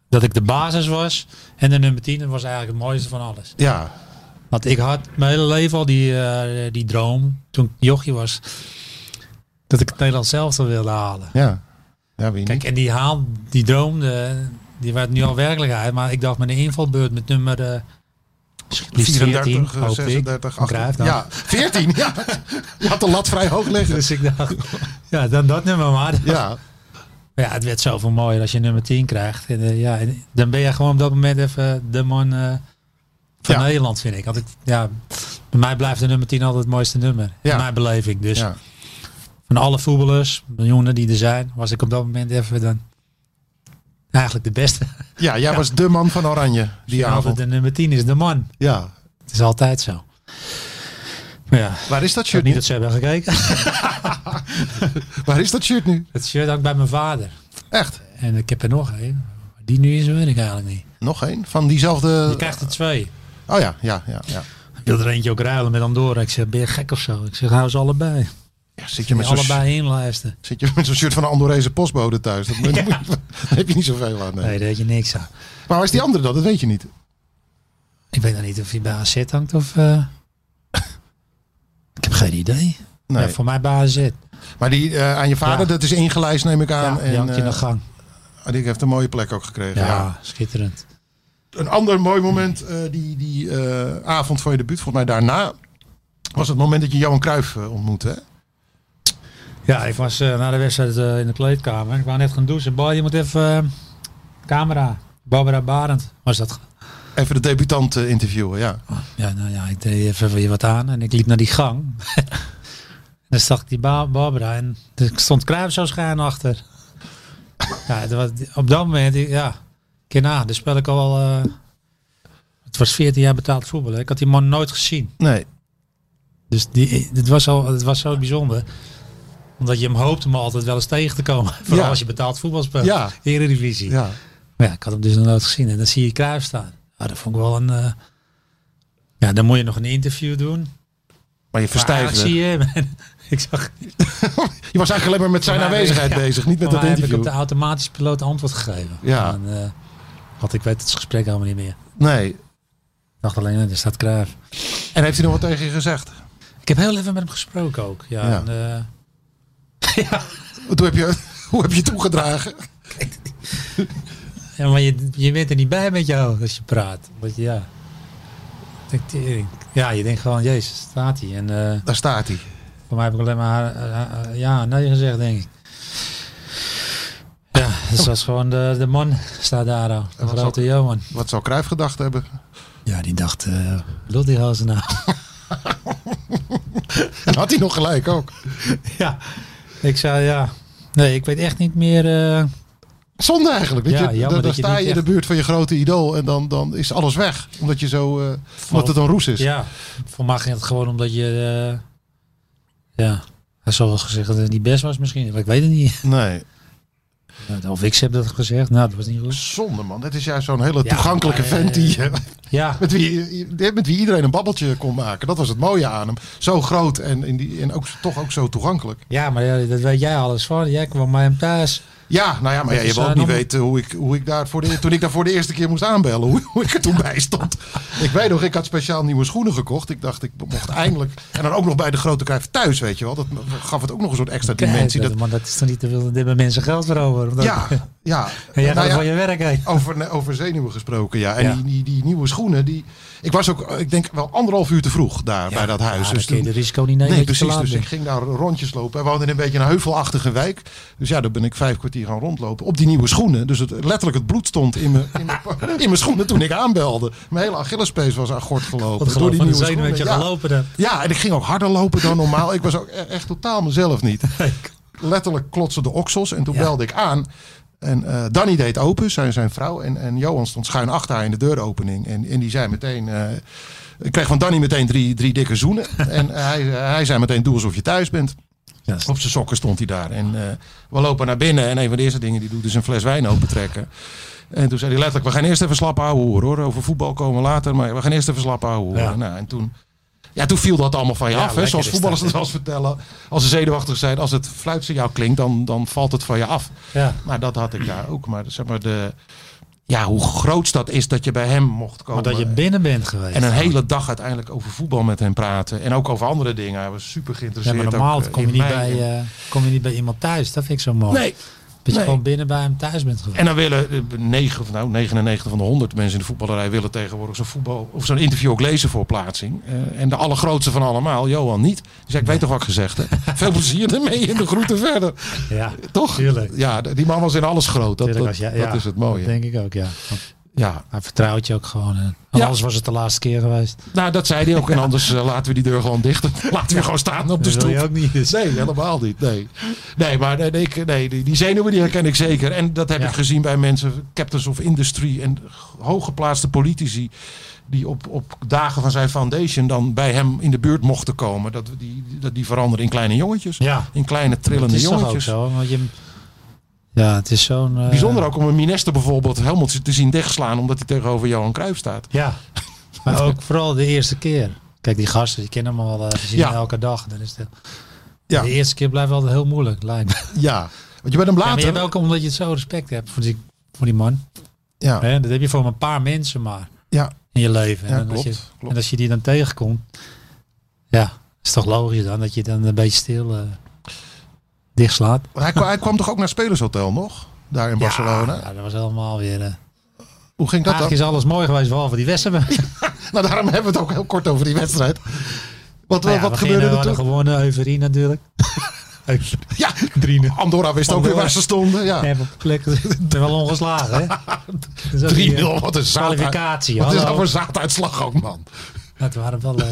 [SPEAKER 4] dat ik de basis was en de nummer 10, dat was eigenlijk het mooiste van alles.
[SPEAKER 3] Ja,
[SPEAKER 4] Want ik had mijn hele leven al die, eh, die droom, toen ik jochie was, dat ik het Nederlands zelf wilde halen.
[SPEAKER 3] ja. Ja, wie niet?
[SPEAKER 4] Kijk, en die haal, die droom, de- die werd nu al werkelijkheid. Maar ik dacht met een invalbeurt met nummer eh, liefst 14,
[SPEAKER 3] 34,
[SPEAKER 4] hoop ik.
[SPEAKER 3] 36,
[SPEAKER 4] Van Cruijff
[SPEAKER 3] 18.
[SPEAKER 4] dan.
[SPEAKER 3] eh, Ja, 14. Ja. Je had de lat vrij hoog liggen.
[SPEAKER 4] Dus ik dacht, ja, dan dat nummer maar.
[SPEAKER 3] Ja,
[SPEAKER 4] Maar ja, het werd zoveel mooier als je nummer 10 krijgt. En, eh, ja, en dan ben je gewoon op dat moment even de man eh, van
[SPEAKER 3] Ja.
[SPEAKER 4] Nederland, vind ik. Want ik, ja, bij mij blijft de nummer 10 altijd het mooiste nummer.
[SPEAKER 3] Ja.
[SPEAKER 4] In mijn beleving. Dus
[SPEAKER 3] ja.
[SPEAKER 4] van alle voetballers, miljoenen die er zijn, was ik op dat moment even dan eigenlijk de beste.
[SPEAKER 3] ja jij was de man van Oranje die
[SPEAKER 4] Ja,
[SPEAKER 3] avond.
[SPEAKER 4] de nummer 10 is de man.
[SPEAKER 3] Ja.
[SPEAKER 4] Het is altijd zo. Maar ja, ik
[SPEAKER 3] Waar is dat
[SPEAKER 4] weet
[SPEAKER 3] shirt
[SPEAKER 4] niet
[SPEAKER 3] nu?
[SPEAKER 4] dat ze hebben gekeken.
[SPEAKER 3] Waar is dat shirt nu?
[SPEAKER 4] Het shirt hangt bij mijn vader.
[SPEAKER 3] Echt?
[SPEAKER 4] En ik heb er nog één. Maar Die nu is, weet ik eigenlijk niet.
[SPEAKER 3] Nog één? Van diezelfde...
[SPEAKER 4] Je krijgt er twee.
[SPEAKER 3] Oh ja, ja, ja. ja.
[SPEAKER 4] Ik wil er eentje ook ruilen met Andorra. Ik zeg, ben je gek of zo? Ik zeg, hou ze allebei.
[SPEAKER 3] Ja, zit, je
[SPEAKER 4] Je
[SPEAKER 3] met
[SPEAKER 4] moet
[SPEAKER 3] zo'n,
[SPEAKER 4] allebei inlijsten.
[SPEAKER 3] zit je met zo'n shirt van een Andorese postbode thuis? Dat moet- daar heb je niet zoveel aan. Nee.
[SPEAKER 4] Nee, daar weet je niks aan.
[SPEAKER 3] Maar waar is die andere dan? Dat weet je niet.
[SPEAKER 4] Ik weet nog niet of hij bij AZ hangt of... eh, ik heb geen idee.
[SPEAKER 3] Nee.
[SPEAKER 4] Ja, voor mij bij AZ.
[SPEAKER 3] Maar die eh, aan je vader,
[SPEAKER 4] Ja.
[SPEAKER 3] dat is ingelijst neem ik aan.
[SPEAKER 4] Ja, die hangt in de
[SPEAKER 3] eh,
[SPEAKER 4] gang.
[SPEAKER 3] die heeft een mooie plek ook gekregen.
[SPEAKER 4] Ja,
[SPEAKER 3] Ja.
[SPEAKER 4] schitterend.
[SPEAKER 3] een ander mooi moment eh, die, die eh, avond van je debuut, volgens mij daarna, was het moment dat je Johan Cruijff eh, ontmoette. Hè?
[SPEAKER 4] Ja, ik was eh, na de wedstrijd eh, in de kleedkamer. Ik wou net gaan douchen. Bal, je moet even... eh, camera. Barbara Barend was dat.
[SPEAKER 3] Even de debutant eh, interviewen, ja.
[SPEAKER 4] Ja, nou ja, ik deed even weer wat aan en ik liep naar die gang. en dan zag ik die Ba- Barbara en er stond Cruijff zo schuin achter. ja, dat was, op dat moment, ik- ja, keer na, dan speel ik al... eh, het was 14 jaar betaald voetbal. hè. Ik had die man nooit gezien.
[SPEAKER 3] Nee.
[SPEAKER 4] Dus die, dit was al, het was zo bijzonder. Omdat je hem hoopte me altijd wel eens tegen te komen. Vooral
[SPEAKER 3] Ja.
[SPEAKER 4] als je betaald voetbal speelt.
[SPEAKER 3] Ja.
[SPEAKER 4] Eredivisie.
[SPEAKER 3] Ja.
[SPEAKER 4] Maar ja, ik had hem dus nog nooit gezien. En dan zie je Cruijff staan. Ja, dat vond ik wel een... eh, ja, dan moet je nog een interview doen.
[SPEAKER 3] Maar je
[SPEAKER 4] Maar eigenlijk
[SPEAKER 3] verstijfde.
[SPEAKER 4] zie je hem. en ik zag...
[SPEAKER 3] Je was eigenlijk alleen maar met zijn
[SPEAKER 4] Maar
[SPEAKER 3] aanwezigheid
[SPEAKER 4] ja,
[SPEAKER 3] bezig, niet met
[SPEAKER 4] maar
[SPEAKER 3] dat
[SPEAKER 4] heb ik op
[SPEAKER 3] interview.
[SPEAKER 4] de automatische piloot antwoord gegeven.
[SPEAKER 3] Ja.
[SPEAKER 4] En, eh, want ik weet het gesprek helemaal niet meer.
[SPEAKER 3] Nee.
[SPEAKER 4] Ik dacht alleen, eh, er staat Cruijff.
[SPEAKER 3] En heeft hij nog wat tegen je gezegd?
[SPEAKER 4] Ik heb heel even met hem gesproken ook. Ja,
[SPEAKER 3] Ja.
[SPEAKER 4] En, eh,
[SPEAKER 3] Hoe heb je, hoe heb je toegedragen?
[SPEAKER 4] Ja, maar je, je bent er niet bij met jou als je praat. Want je- ja. Ik denk, tering. Ja, je denkt gewoon, jezus, staat hij. En eh,
[SPEAKER 3] Daar staat hij.
[SPEAKER 4] voor mij heb ik alleen maar eh, eh, eh, ja, nee gezegd, denk ik. Ja, dus dat is gewoon de, de man staat daar al. De
[SPEAKER 3] En wat
[SPEAKER 4] grote Johan.
[SPEAKER 3] Wat zou Cruijff gedacht hebben?
[SPEAKER 4] Ja, die dacht, eh lult die gozer nou?
[SPEAKER 3] En had hij nog gelijk ook.
[SPEAKER 4] ja, ik zei ja. Nee, ik weet echt niet meer. eh,
[SPEAKER 3] Zonde eigenlijk. Weet
[SPEAKER 4] Ja,
[SPEAKER 3] je?
[SPEAKER 4] jammer
[SPEAKER 3] Dan,
[SPEAKER 4] dat
[SPEAKER 3] dan
[SPEAKER 4] je
[SPEAKER 3] sta
[SPEAKER 4] niet
[SPEAKER 3] je in de
[SPEAKER 4] echt-
[SPEAKER 3] buurt van je grote idool en dan, dan is alles weg. Omdat, je zo, eh, omdat het een roes is.
[SPEAKER 4] ja, voor mij ging het gewoon omdat je. eh, ja, hij zal wel gezegd dat het niet best was misschien. Maar ik weet het niet.
[SPEAKER 3] Nee.
[SPEAKER 4] Nou, Of ik heb dat gezegd. Nou, dat was niet goed.
[SPEAKER 3] Zonde man. Dat is juist zo'n hele
[SPEAKER 4] Ja,
[SPEAKER 3] toegankelijke
[SPEAKER 4] maar,
[SPEAKER 3] vent die, eh,
[SPEAKER 4] Ja,
[SPEAKER 3] met, wie, met wie iedereen een babbeltje kon maken. Dat was het mooie aan hem. Zo groot en, in die, en ook, toch ook zo toegankelijk.
[SPEAKER 4] ja maar ja, dat weet jij alles van. Jij kwam bij hem thuis.
[SPEAKER 3] Ja, nou ja, maar ja,
[SPEAKER 4] Dat
[SPEAKER 3] je
[SPEAKER 4] is,
[SPEAKER 3] wil ook
[SPEAKER 4] eh,
[SPEAKER 3] niet
[SPEAKER 4] nog-
[SPEAKER 3] weten hoe ik, hoe ik daar voor de, e- toen ik daar voor de eerste keer moest aanbellen, hoe, hoe ik er toen bij stond. Ik weet nog, ik had speciaal nieuwe schoenen gekocht. Ik dacht, ik mocht eindelijk. En dan ook nog bij de grote kijf thuis, weet je wel. Dat gaf het ook nog een soort extra dimensie.
[SPEAKER 4] Kijk,
[SPEAKER 3] Dat,
[SPEAKER 4] man, dat is toch niet te veel. Daar hebben mensen geld voor over. Omdat-
[SPEAKER 3] ja, ja.
[SPEAKER 4] En jij
[SPEAKER 3] Nou
[SPEAKER 4] gaat
[SPEAKER 3] ja,
[SPEAKER 4] voor je werk heen.
[SPEAKER 3] over, over zenuwen gesproken, ja. En
[SPEAKER 4] Ja.
[SPEAKER 3] Die, die, die nieuwe schoenen, die. Ik was ook, eh, ik denk wel anderhalf uur te vroeg daar bij dat huis.
[SPEAKER 4] Ja, dan
[SPEAKER 3] dus
[SPEAKER 4] kun je
[SPEAKER 3] toen-
[SPEAKER 4] de risico niet nemen.
[SPEAKER 3] Nee,
[SPEAKER 4] dat je te
[SPEAKER 3] precies.
[SPEAKER 4] laat
[SPEAKER 3] Dus
[SPEAKER 4] bent.
[SPEAKER 3] ik ging daar rondjes lopen. En we woonden in een beetje een heuvelachtige wijk. Dus ja, daar ben ik vijf kwartier gaan rondlopen. Op die nieuwe schoenen. Dus het, letterlijk het bloed stond in mijn, in mijn, in mijn schoenen toen ik aanbelde. Mijn hele Achillespees was aan gort gelopen.
[SPEAKER 4] Wat
[SPEAKER 3] door
[SPEAKER 4] geloof
[SPEAKER 3] die
[SPEAKER 4] van de
[SPEAKER 3] nieuwe
[SPEAKER 4] zenuw
[SPEAKER 3] schoenen.
[SPEAKER 4] heb je
[SPEAKER 3] Ja.
[SPEAKER 4] gelopen dan.
[SPEAKER 3] ja, en ik ging ook harder lopen dan normaal. Ik was ook e- echt totaal mezelf niet. Letterlijk klotsen de oksels. En toen
[SPEAKER 4] Ja.
[SPEAKER 3] belde ik aan. En eh, Danny deed open, zijn, zijn vrouw. En, en Johan stond schuin achter haar in de deuropening. En, en die zei meteen... eh, ik kreeg van Danny meteen drie, drie dikke zoenen. En hij, hij zei meteen, doe alsof je thuis bent.
[SPEAKER 4] Ja, dat
[SPEAKER 3] Op zijn sokken stond hij daar. En eh, we lopen naar binnen. En een van de eerste dingen die doet is een fles wijn opentrekken. En toen zei hij letterlijk, we gaan eerst even slap ouwe hoeren hoor. Over voetbal komen we later, maar we gaan eerst even slap ouwe hoeren.
[SPEAKER 4] Ja.
[SPEAKER 3] Nou, en toen, ja, toen viel dat allemaal van je
[SPEAKER 4] Ja,
[SPEAKER 3] af. Hè?
[SPEAKER 4] lekker
[SPEAKER 3] Zoals
[SPEAKER 4] is
[SPEAKER 3] voetballers
[SPEAKER 4] dat,
[SPEAKER 3] dat wel eens vertellen. Als ze zenuwachtig zijn, als het fluitsignaal klinkt, dan, dan valt het van je af.
[SPEAKER 4] Ja.
[SPEAKER 3] Maar dat had ik daar ook. Maar zeg maar, de, ja, hoe groot dat is dat je bij hem mocht komen.
[SPEAKER 4] Maar dat je binnen bent geweest.
[SPEAKER 3] eh, En een hele dag uiteindelijk over voetbal met hem praten. En ook over andere dingen. Hij was super
[SPEAKER 4] ja,
[SPEAKER 3] geïnteresseerd.
[SPEAKER 4] maar normaal
[SPEAKER 3] ook, eh,
[SPEAKER 4] kom, je
[SPEAKER 3] in
[SPEAKER 4] niet
[SPEAKER 3] mij.
[SPEAKER 4] bij, eh, kom je niet bij iemand thuis. Dat vind ik zo mooi.
[SPEAKER 3] Nee.
[SPEAKER 4] dat je
[SPEAKER 3] nee.
[SPEAKER 4] gewoon binnen bij hem thuis bent geweest.
[SPEAKER 3] En dan willen eh, negen, nou, 99 van de 100 mensen in de voetballerij willen tegenwoordig zo'n voetbal of zo'n interview ook lezen voor plaatsing. Eh, en de allergrootste van allemaal, Johan niet. Die zei, ik weet toch wat ik gezegd heb. Veel plezier ermee en de groeten verder.
[SPEAKER 4] ja,
[SPEAKER 3] Toch?
[SPEAKER 4] Tuurlijk.
[SPEAKER 3] Ja, d- die man was in alles groot. Dat,
[SPEAKER 4] Tuurlijk,
[SPEAKER 3] dat,
[SPEAKER 4] als jij-
[SPEAKER 3] dat
[SPEAKER 4] ja,
[SPEAKER 3] is het mooie.
[SPEAKER 4] Dat denk ik ook, ja. Want
[SPEAKER 3] ja.
[SPEAKER 4] Hij vertrouwt je ook gewoon. En anders was het de laatste keer geweest.
[SPEAKER 3] Nou, dat zei hij ook. En anders eh, laten we die deur gewoon dicht. Laten we gewoon staan op de
[SPEAKER 4] Dat wil je
[SPEAKER 3] stoep.
[SPEAKER 4] ook niet. Dus.
[SPEAKER 3] Nee, helemaal niet. Nee, nee maar nee, nee, ik, nee, die, die zenuwen die herken ik zeker. En dat heb
[SPEAKER 4] Ja.
[SPEAKER 3] ik gezien bij mensen, captains of industry en g- hooggeplaatste politici. Die op, op dagen van zijn foundation dan bij hem in de buurt mochten komen. Dat we die, dat die veranderen in kleine jongetjes.
[SPEAKER 4] Ja.
[SPEAKER 3] In kleine trillende
[SPEAKER 4] Het is toch ook
[SPEAKER 3] jongetjes.
[SPEAKER 4] zo, want je... Ja, het is zo'n... eh,
[SPEAKER 3] Bijzonder ook om een minister bijvoorbeeld helemaal te zien dichtslaan. Omdat hij tegenover Johan Cruijff staat.
[SPEAKER 4] Ja, maar ook vooral de eerste keer. Kijk, die gasten, die kennen hem al eh, gezien
[SPEAKER 3] Ja.
[SPEAKER 4] elke dag. Dan is het,
[SPEAKER 3] Ja.
[SPEAKER 4] De eerste keer blijft altijd heel moeilijk, lijkt me.
[SPEAKER 3] Ja. Want je bent hem
[SPEAKER 4] Ja, maar je
[SPEAKER 3] later.
[SPEAKER 4] hebt ook omdat je het zo respect hebt voor die, voor die man.
[SPEAKER 3] Ja,
[SPEAKER 4] Hè, Dat heb je voor maar een paar mensen maar
[SPEAKER 3] ja,
[SPEAKER 4] in je leven.
[SPEAKER 3] Ja,
[SPEAKER 4] en, als
[SPEAKER 3] klopt,
[SPEAKER 4] je,
[SPEAKER 3] klopt.
[SPEAKER 4] en als je die dan tegenkomt, ja, is toch logisch dan dat je dan een beetje stil eh dicht slaat.
[SPEAKER 3] Maar Hij, kwam, hij kwam toch ook naar het Spelershotel nog? Daar in Barcelona.
[SPEAKER 4] Ja, dat was helemaal weer... eh,
[SPEAKER 3] Hoe ging dat dan?
[SPEAKER 4] Eigenlijk is alles mooi geweest, behalve die wedstrijd.
[SPEAKER 3] Nou, daarom hebben we het ook heel kort over die wedstrijd. Wat,
[SPEAKER 4] Nou ja,
[SPEAKER 3] wat
[SPEAKER 4] we
[SPEAKER 3] gebeurde
[SPEAKER 4] gingen-
[SPEAKER 3] er
[SPEAKER 4] we
[SPEAKER 3] toen?
[SPEAKER 4] hadden gewonnen, euforie natuurlijk.
[SPEAKER 3] Ja,
[SPEAKER 4] Drieën.
[SPEAKER 3] Andorra wist ook
[SPEAKER 4] Andorra.
[SPEAKER 3] weer waar ze stonden. Ja.
[SPEAKER 4] Nee, op plek. Ik ben wel ongeslagen, hè? Dat is ook
[SPEAKER 3] 3-0,
[SPEAKER 4] niet, eh,
[SPEAKER 3] wat een zaad.
[SPEAKER 4] kwalificatie,
[SPEAKER 3] Wat is
[SPEAKER 4] hallo.
[SPEAKER 3] dat voor zaaduitslag ook, man?
[SPEAKER 4] Het waren wel, eh,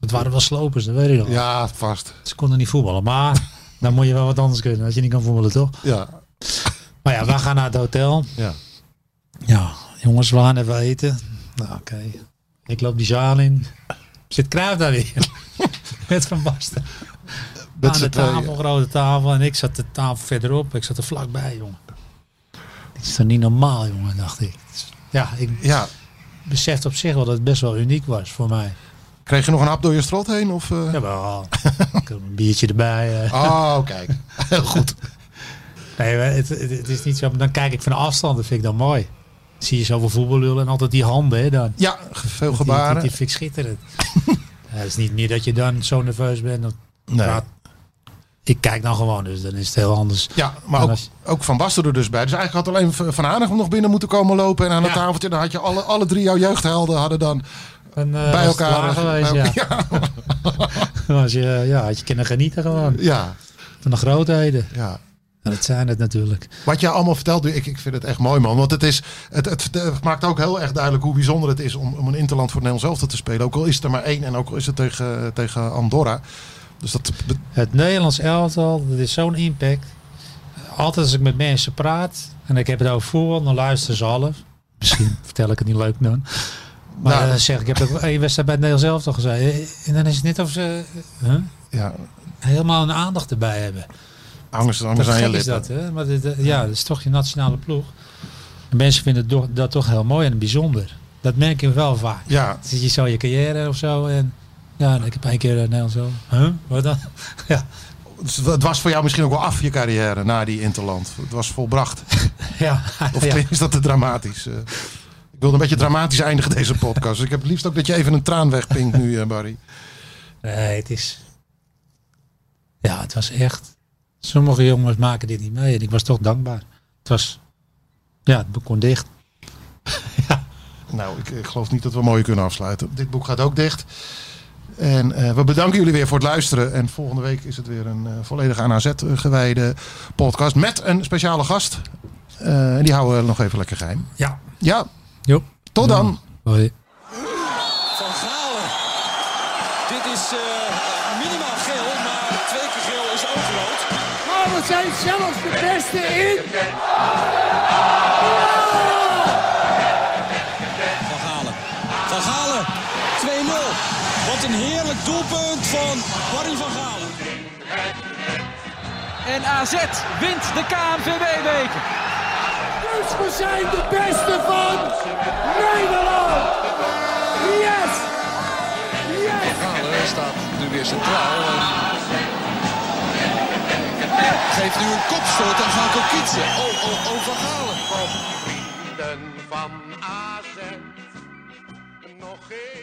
[SPEAKER 4] het waren wel slopers, dat weet ik nog.
[SPEAKER 3] Ja, vast.
[SPEAKER 4] Ze konden niet voetballen, maar dan moet je wel wat anders kunnen als je niet kan voetballen, toch?
[SPEAKER 3] Ja,
[SPEAKER 4] Maar ja, we gaan naar het hotel.
[SPEAKER 3] ja.
[SPEAKER 4] Ja, jongens, we gaan even eten. Nou, oké. Ik loop die zaal in. Zit Kruijf daar weer? Met Van Basten.
[SPEAKER 3] Met
[SPEAKER 4] Aan
[SPEAKER 3] z'n
[SPEAKER 4] de tafel,
[SPEAKER 3] tweeën.
[SPEAKER 4] grote tafel. En ik zat de tafel verderop. Ik zat er vlakbij, jongen. Dit is toch niet normaal, jongen, dacht ik. Ja, ik
[SPEAKER 3] ja.
[SPEAKER 4] besefte op zich wel dat het best wel uniek was voor mij.
[SPEAKER 3] Kreeg je nog een hap door je strot heen? Of, eh?
[SPEAKER 4] Jawel. ik heb een biertje erbij. eh.
[SPEAKER 3] Oh, kijk. Heel goed.
[SPEAKER 4] Nee, maar het, het, het is niet zo. maar Dan kijk ik van afstand, dat vind ik dan mooi. Zie je zoveel voetballullen en altijd die handen, hè, dan.
[SPEAKER 3] Ja, veel
[SPEAKER 4] Die- Die, die
[SPEAKER 3] gebaren.
[SPEAKER 4] vind ik schitterend. Ja, het is niet meer dat je dan zo nerveus bent. Dat,
[SPEAKER 3] Nee.
[SPEAKER 4] maar ik kijk dan gewoon, dus dan is het heel anders.
[SPEAKER 3] Ja, maar
[SPEAKER 4] En
[SPEAKER 3] ook,
[SPEAKER 4] als-
[SPEAKER 3] ook Van Basten er dus bij. Dus eigenlijk had alleen Van Hanegem nog binnen moeten komen lopen. En aan het
[SPEAKER 4] Ja.
[SPEAKER 3] tafeltje, dan had je alle, alle drie jouw jeugdhelden hadden dan
[SPEAKER 4] Dan, eh,
[SPEAKER 3] bij
[SPEAKER 4] was het
[SPEAKER 3] elkaar...
[SPEAKER 4] klaar geweest,
[SPEAKER 3] bij
[SPEAKER 4] ja.
[SPEAKER 3] elkaar- ja.
[SPEAKER 4] Dan was je, ja, had je kunnen genieten gewoon.
[SPEAKER 3] ja,
[SPEAKER 4] Van de grootheden.
[SPEAKER 3] ja.
[SPEAKER 4] En dat zijn het natuurlijk.
[SPEAKER 3] Wat jij allemaal vertelt, ik, ik vind het echt mooi, man. Want het, is, het, het, het maakt ook heel erg duidelijk hoe bijzonder het is om, om een interland voor Nederland zelf te spelen. Ook al is het er maar één en ook al is het tegen, tegen Andorra. Dus dat. be-
[SPEAKER 4] Het Nederlands elftal, dat is zo'n impact. Altijd als ik met mensen praat en ik heb het over voetbal, dan luisteren ze half. Misschien vertel ik het niet leuk dan. Maar
[SPEAKER 3] Nou.
[SPEAKER 4] dan zeg ik, ik heb ook één wedstrijd bij het Nederlands elftal gezegd. En dan is het net of ze eh, huh,
[SPEAKER 3] Ja,
[SPEAKER 4] helemaal een aandacht erbij hebben.
[SPEAKER 3] hangers,
[SPEAKER 4] Dat
[SPEAKER 3] hangers aan je
[SPEAKER 4] gek is
[SPEAKER 3] lippen.
[SPEAKER 4] dat, hè? Maar dit, eh, ja, dat is toch je nationale ploeg. En mensen vinden het toch- dat toch heel mooi en bijzonder. Dat merk je wel vaak.
[SPEAKER 3] Ja,
[SPEAKER 4] Dan zit je zo in je carrière of zo en ja, en ik heb één keer eh, Nederlands elftal. Huh? Wat dan? ja.
[SPEAKER 3] het dus het was voor jou misschien ook wel af je carrière na die interland. Het was volbracht.
[SPEAKER 4] Ja,
[SPEAKER 3] Of
[SPEAKER 4] ja.
[SPEAKER 3] is dat te dramatisch? Eh, ik wilde een beetje dramatisch eindigen deze podcast. Dus ik heb het liefst ook dat je even een traan wegpinkt nu, eh, Barry.
[SPEAKER 4] Nee, het is. Ja, het was echt. Sommige jongens maken dit niet mee en ik was toch dankbaar. Het was. Ja, het boek kon dicht.
[SPEAKER 3] Nou, ik, ik geloof niet dat we mooier kunnen afsluiten. Dit boek gaat ook dicht. En eh, we bedanken jullie weer voor het luisteren. En volgende week is het weer een eh, volledig aan AZ gewijde podcast. Met een speciale gast. Eh, en die houden we nog even lekker geheim.
[SPEAKER 4] Ja.
[SPEAKER 3] Ja,
[SPEAKER 4] Joep.
[SPEAKER 3] tot dan.
[SPEAKER 4] Hoi.
[SPEAKER 5] Van Galen. Dit is eh, minimaal geel, maar twee keer geel is ook rood.
[SPEAKER 1] Maar Oh, we zijn zelfs de beste in.
[SPEAKER 5] Van Galen. Van Galen. 2-0. Wat een heerlijk doelpunt van Barry van Galen.
[SPEAKER 6] En AZ wint de KNVB-beker.
[SPEAKER 1] Dus we zijn de beste van Nederland. Yes. Yes.
[SPEAKER 2] Galen staat nu weer centraal. en Geeft nu een kopstoot aan Gaan Kokitsen. Oh, oh, oh, Van Galen.
[SPEAKER 7] op vrienden van AZ. Nog één.